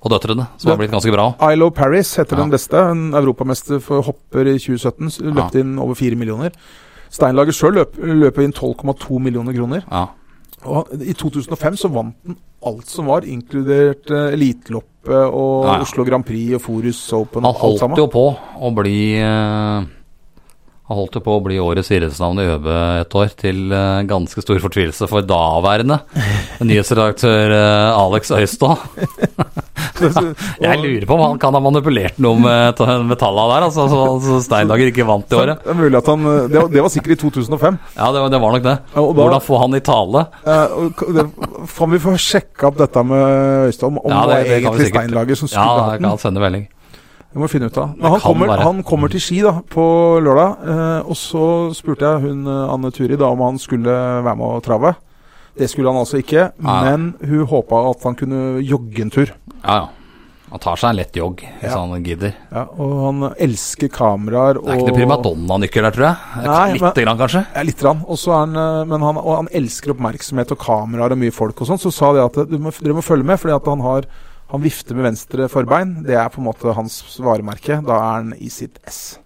[SPEAKER 2] Og døtrene, som har blitt ganske bra.
[SPEAKER 3] Ilo Paris heter
[SPEAKER 2] Ja.
[SPEAKER 3] den beste. En europamester for hopper i 2017. s- Løpte inn over 4 millioner. Steinlager sjøl løp, løper inn 12,2 millioner kroner.
[SPEAKER 2] Ja.
[SPEAKER 3] Og han- I 2005 så vant han alt som var, inkludert eh, Eliteloppet og
[SPEAKER 2] Ja, ja.
[SPEAKER 3] Oslo Grand Prix og Forus Open.
[SPEAKER 2] Han
[SPEAKER 3] og alt sammen.
[SPEAKER 2] holdt jo på å bli eh, Han holdt jo på å bli årets idrettsnavn i ØB et år, til eh, ganske stor fortvilelse for daværende nyhetsredaktør eh, Alex Øystad. Jeg lurer på om han kan ha manipulert noe med, ta- med tallene der, altså, så, så Steinlager ikke vant det året.
[SPEAKER 3] Det er mulig at han eh, Det var, det var sikkert i 2005.
[SPEAKER 2] Ja, det, var- det var nok det.
[SPEAKER 3] Ja, og da-
[SPEAKER 2] Hvordan få han i tale?
[SPEAKER 3] Eh, og k- det, kan vi få sjekka opp dette med Øystad? Om, om
[SPEAKER 2] Ja,
[SPEAKER 3] det,
[SPEAKER 2] det-
[SPEAKER 3] var
[SPEAKER 2] det kan vi
[SPEAKER 3] egentlig
[SPEAKER 2] sikkert.
[SPEAKER 3] Steinlager som
[SPEAKER 2] Ja,
[SPEAKER 3] skulle hatt
[SPEAKER 2] jeg
[SPEAKER 3] den?
[SPEAKER 2] kan sende melding.
[SPEAKER 3] Det må vi finne ut av.
[SPEAKER 2] Det
[SPEAKER 3] Men han
[SPEAKER 2] kan
[SPEAKER 3] kommer,
[SPEAKER 2] være.
[SPEAKER 3] han kommer til Ski da, på lørdag. Eh, og så spurte jeg hun eh, Anne Turi da om han skulle være med og trave. Det skulle han altså ikke,
[SPEAKER 2] Nei, nei.
[SPEAKER 3] men hun håpa at han kunne jogge en tur.
[SPEAKER 2] Ja, ja. Han tar seg en lett jogg hvis
[SPEAKER 3] Ja.
[SPEAKER 2] han gidder.
[SPEAKER 3] Ja, og han elsker kameraer og
[SPEAKER 2] Det er ikke noe primadonna-nykker der, tror jeg.
[SPEAKER 3] Nei,
[SPEAKER 2] Litt
[SPEAKER 3] men-
[SPEAKER 2] grann, kanskje.
[SPEAKER 3] Ja, litt. Rann. Og så er han, eh, men han, og han elsker oppmerksomhet og kameraer og mye folk og sånn. Så sa de at eh, du må, dere må følge med, fordi at han har han vifter med venstre forbein. Det er på en måte hans varemerke. Da er han i sitt ess.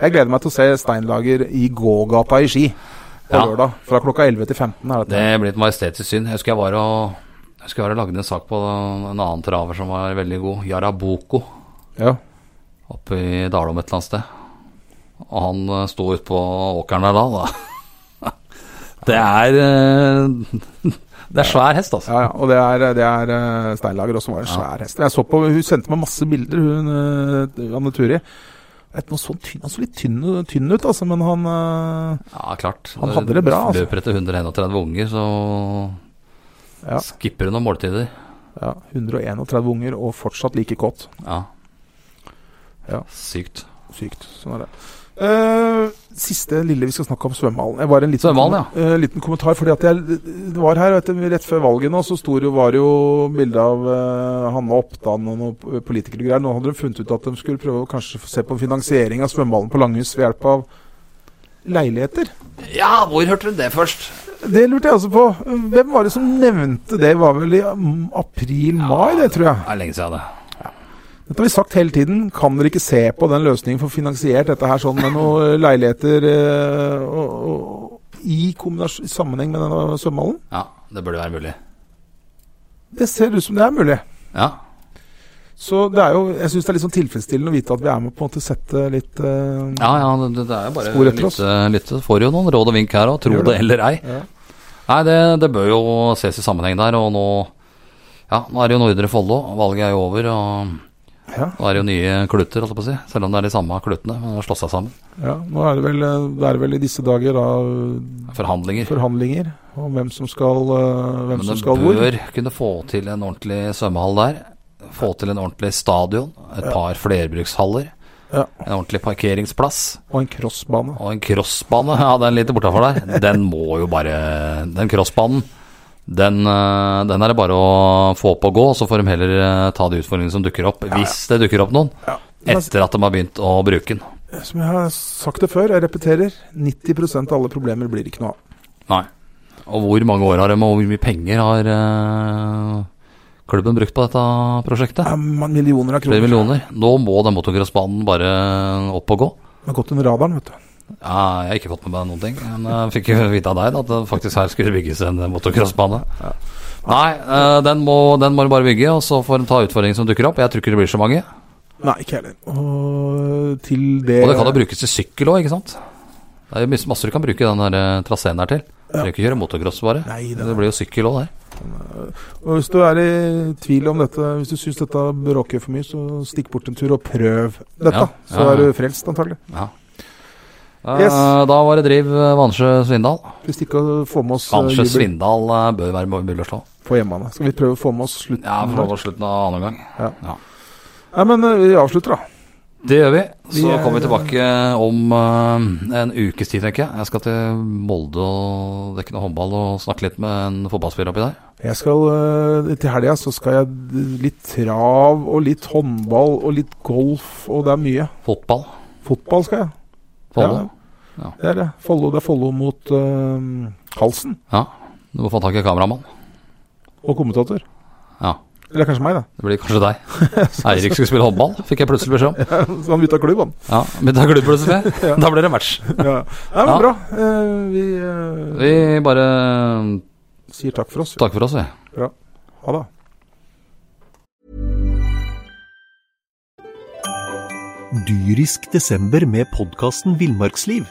[SPEAKER 3] Jeg gleder meg til å se Steinlager i gågata i Ski på
[SPEAKER 2] Ja.
[SPEAKER 3] lørdag. Fra klokka 11 til 15. Er
[SPEAKER 2] Det
[SPEAKER 3] dette.
[SPEAKER 2] blir et majestetisk syn. Jeg husker jeg var og jeg husker jeg var og lagde en sak på en annen traver som var veldig god, Yaraboko,
[SPEAKER 3] Ja.
[SPEAKER 2] oppe i Dalom et eller annet sted. Og han eh, sto ute på åkeren der da. da. Det er eh, Det er svær hest, altså.
[SPEAKER 3] Ja, ja, og det er, det er eh, Steinlager også, var en svær hest. Jeg så på, Hun sendte meg masse bilder, hun eh, Anne Turi. Vet, noe sånn tynn, han så litt tynn, tynn ut, altså, men han eh,
[SPEAKER 2] Ja, klart.
[SPEAKER 3] Han hadde det bra, altså.
[SPEAKER 2] Løper etter 131 unger, så
[SPEAKER 3] Ja.
[SPEAKER 2] skipper hun noen måltider.
[SPEAKER 3] Ja, 131 unger og fortsatt like kåt.
[SPEAKER 2] Ja.
[SPEAKER 3] Ja.
[SPEAKER 2] Sykt.
[SPEAKER 3] Sykt. Sånn er det. Eh, siste lille vi skal snakke om, svømmehallen. Jeg var en liten,
[SPEAKER 2] Svømmehallen,
[SPEAKER 3] eh, liten kommentar. fordi at jeg det var her vet du, rett før valget nå, så sto det jo, var det jo bilde av eh, Hanne Oppdan og noen politikere og greier. Nå hadde de funnet ut at de skulle prøve å kanskje få se på finansiering av svømmehallen på Langhus ved hjelp av leiligheter.
[SPEAKER 2] Ja, hvor hørte du det først?
[SPEAKER 3] Det lurte jeg også på. Hvem var det som nevnte det? Var vel i mm, april-mai, det tror jeg.
[SPEAKER 2] Det er lenge siden, det.
[SPEAKER 3] Dette har vi sagt hele tiden. Kan dere ikke se på den løsningen for å finansiert dette her sånn med noen leiligheter eh, og, og, i kombinasj- i sammenheng med denne svømmehallen?
[SPEAKER 2] Ja, det burde være mulig.
[SPEAKER 3] Det ser ut som det er mulig.
[SPEAKER 2] Ja.
[SPEAKER 3] Så det er jo, jeg syns det er litt sånn tilfredsstillende å vite at vi er med på en måte å sette litt eh,
[SPEAKER 2] Ja, ja, det, det er jo bare
[SPEAKER 3] Spor etter oss.
[SPEAKER 2] lytte, lytte. Får jo noen råd og vink her òg, tro
[SPEAKER 3] Gjør
[SPEAKER 2] det
[SPEAKER 3] det.
[SPEAKER 2] eller ei.
[SPEAKER 3] Ja.
[SPEAKER 2] Nei, det, det bør jo ses i sammenheng der, og nå Ja, nå er det jo Nordre Follo, valget er jo over, og
[SPEAKER 3] Ja.
[SPEAKER 2] nå er det jo nye klutter, holdt jeg på å si. Selv om det er de samme kluttene, men de har slått seg sammen.
[SPEAKER 3] ja, nå er det, vel, eh, det er vel i disse dager da
[SPEAKER 2] Forhandlinger.
[SPEAKER 3] forhandlinger om hvem som skal, eh, hvem
[SPEAKER 2] Men
[SPEAKER 3] som
[SPEAKER 2] de
[SPEAKER 3] skal hvor.
[SPEAKER 2] bør kunne få til en ordentlig svømmehall der. Få til en ordentlig stadion, et par flerbrukshaller,
[SPEAKER 3] Ja.
[SPEAKER 2] en ordentlig parkeringsplass
[SPEAKER 3] Og en crossbane.
[SPEAKER 2] og en crossbane. Ja, den litt bortafor der. Den må jo bare Den crossbanen, den, eh, den er det bare å få opp og gå, så får de heller eh, ta de utfordringene som dukker opp, hvis det dukker opp noen.
[SPEAKER 3] Ja.
[SPEAKER 2] Etter at de har begynt å bruke den.
[SPEAKER 3] Som jeg har sagt det før, jeg repeterer, 90 av alle problemer blir det ikke noe av.
[SPEAKER 2] Nei. Og hvor mange år har de, og hvor mye penger har eh, klubben brukt på dette prosjektet?
[SPEAKER 3] Det er Millioner av
[SPEAKER 2] Flere
[SPEAKER 3] kroner.
[SPEAKER 2] millioner. Nå må den motocrossbanen bare opp og gå.
[SPEAKER 3] Det har gått under radaren, vet du.
[SPEAKER 2] Ja, jeg har ikke fått med meg noen ting, men jeg fikk jo vite av deg da, at det faktisk her skulle bygges en eh, motocrossbane. Nei, eh, den må, den må du bare bygge, og så får de ta utfordringene som dukker opp. Jeg tror ikke det blir så mange.
[SPEAKER 3] Nei, ikke heller. Og til det
[SPEAKER 2] Og det kan jo brukes til sykkel òg, ikke sant? Det er jo mye- masse du kan bruke den der eh, traseen der til. Du trenger ikke kjøre motocross bare.
[SPEAKER 3] Nei, det er-
[SPEAKER 2] Det blir jo sykkel òg der.
[SPEAKER 3] Og hvis du er i tvil om dette, hvis du syns dette bråker for mye, så stikk bort en tur og prøv dette.
[SPEAKER 2] Ja,
[SPEAKER 3] Så
[SPEAKER 2] ja,
[SPEAKER 3] er
[SPEAKER 2] ja.
[SPEAKER 3] du frelst, antagelig.
[SPEAKER 2] Ja.
[SPEAKER 3] Yes.
[SPEAKER 2] Eh, Da var det driv eh, Vansjø Svindal.
[SPEAKER 3] Hvis ikke å få med oss eh,
[SPEAKER 2] Vansjø
[SPEAKER 3] jubel
[SPEAKER 2] Svindal eh, bør være mulig å slå.
[SPEAKER 3] på hjemmebane. Skal vi prøve å få med oss slutten?
[SPEAKER 2] Ja,
[SPEAKER 3] her?
[SPEAKER 2] for å slutten av annen gang.
[SPEAKER 3] Ja.
[SPEAKER 2] Ja.
[SPEAKER 3] Nei, men eh, vi avslutter, da.
[SPEAKER 2] Det gjør vi.
[SPEAKER 3] Vi
[SPEAKER 2] Så
[SPEAKER 3] er-
[SPEAKER 2] kommer vi tilbake om eh, en ukes tid, tenker jeg. Jeg skal til Molde og dekke noe håndball og snakke litt med en fotballspiller oppi der.
[SPEAKER 3] Jeg skal, eh, til helga så skal jeg d- litt trav og litt håndball og litt golf, og det er mye.
[SPEAKER 2] Fotball.
[SPEAKER 3] Fotball skal jeg.
[SPEAKER 2] Follo.
[SPEAKER 3] Ja.
[SPEAKER 2] Ja.
[SPEAKER 3] Det er det. Follo, det er Follo mot eh, Halsen
[SPEAKER 2] Ja. Du må få tak i kameramann.
[SPEAKER 3] og kommentator.
[SPEAKER 2] Ja.
[SPEAKER 3] Eller kanskje meg, da.
[SPEAKER 2] Det blir kanskje deg. Eirik skulle spille håndball, fikk jeg plutselig beskjed om.
[SPEAKER 3] Så han bytta klubb, han.
[SPEAKER 2] Ja, Men da glubb plutselig. Da blir det match.
[SPEAKER 3] Ja. Nei, men
[SPEAKER 2] Ja.
[SPEAKER 3] bra. Eh, vi eh,
[SPEAKER 2] Vi bare eh,
[SPEAKER 3] sier takk for oss.
[SPEAKER 2] takker for oss, vi.
[SPEAKER 3] Bra. Ha det.
[SPEAKER 4] Dyrisk desember med podkasten Villmarksliv.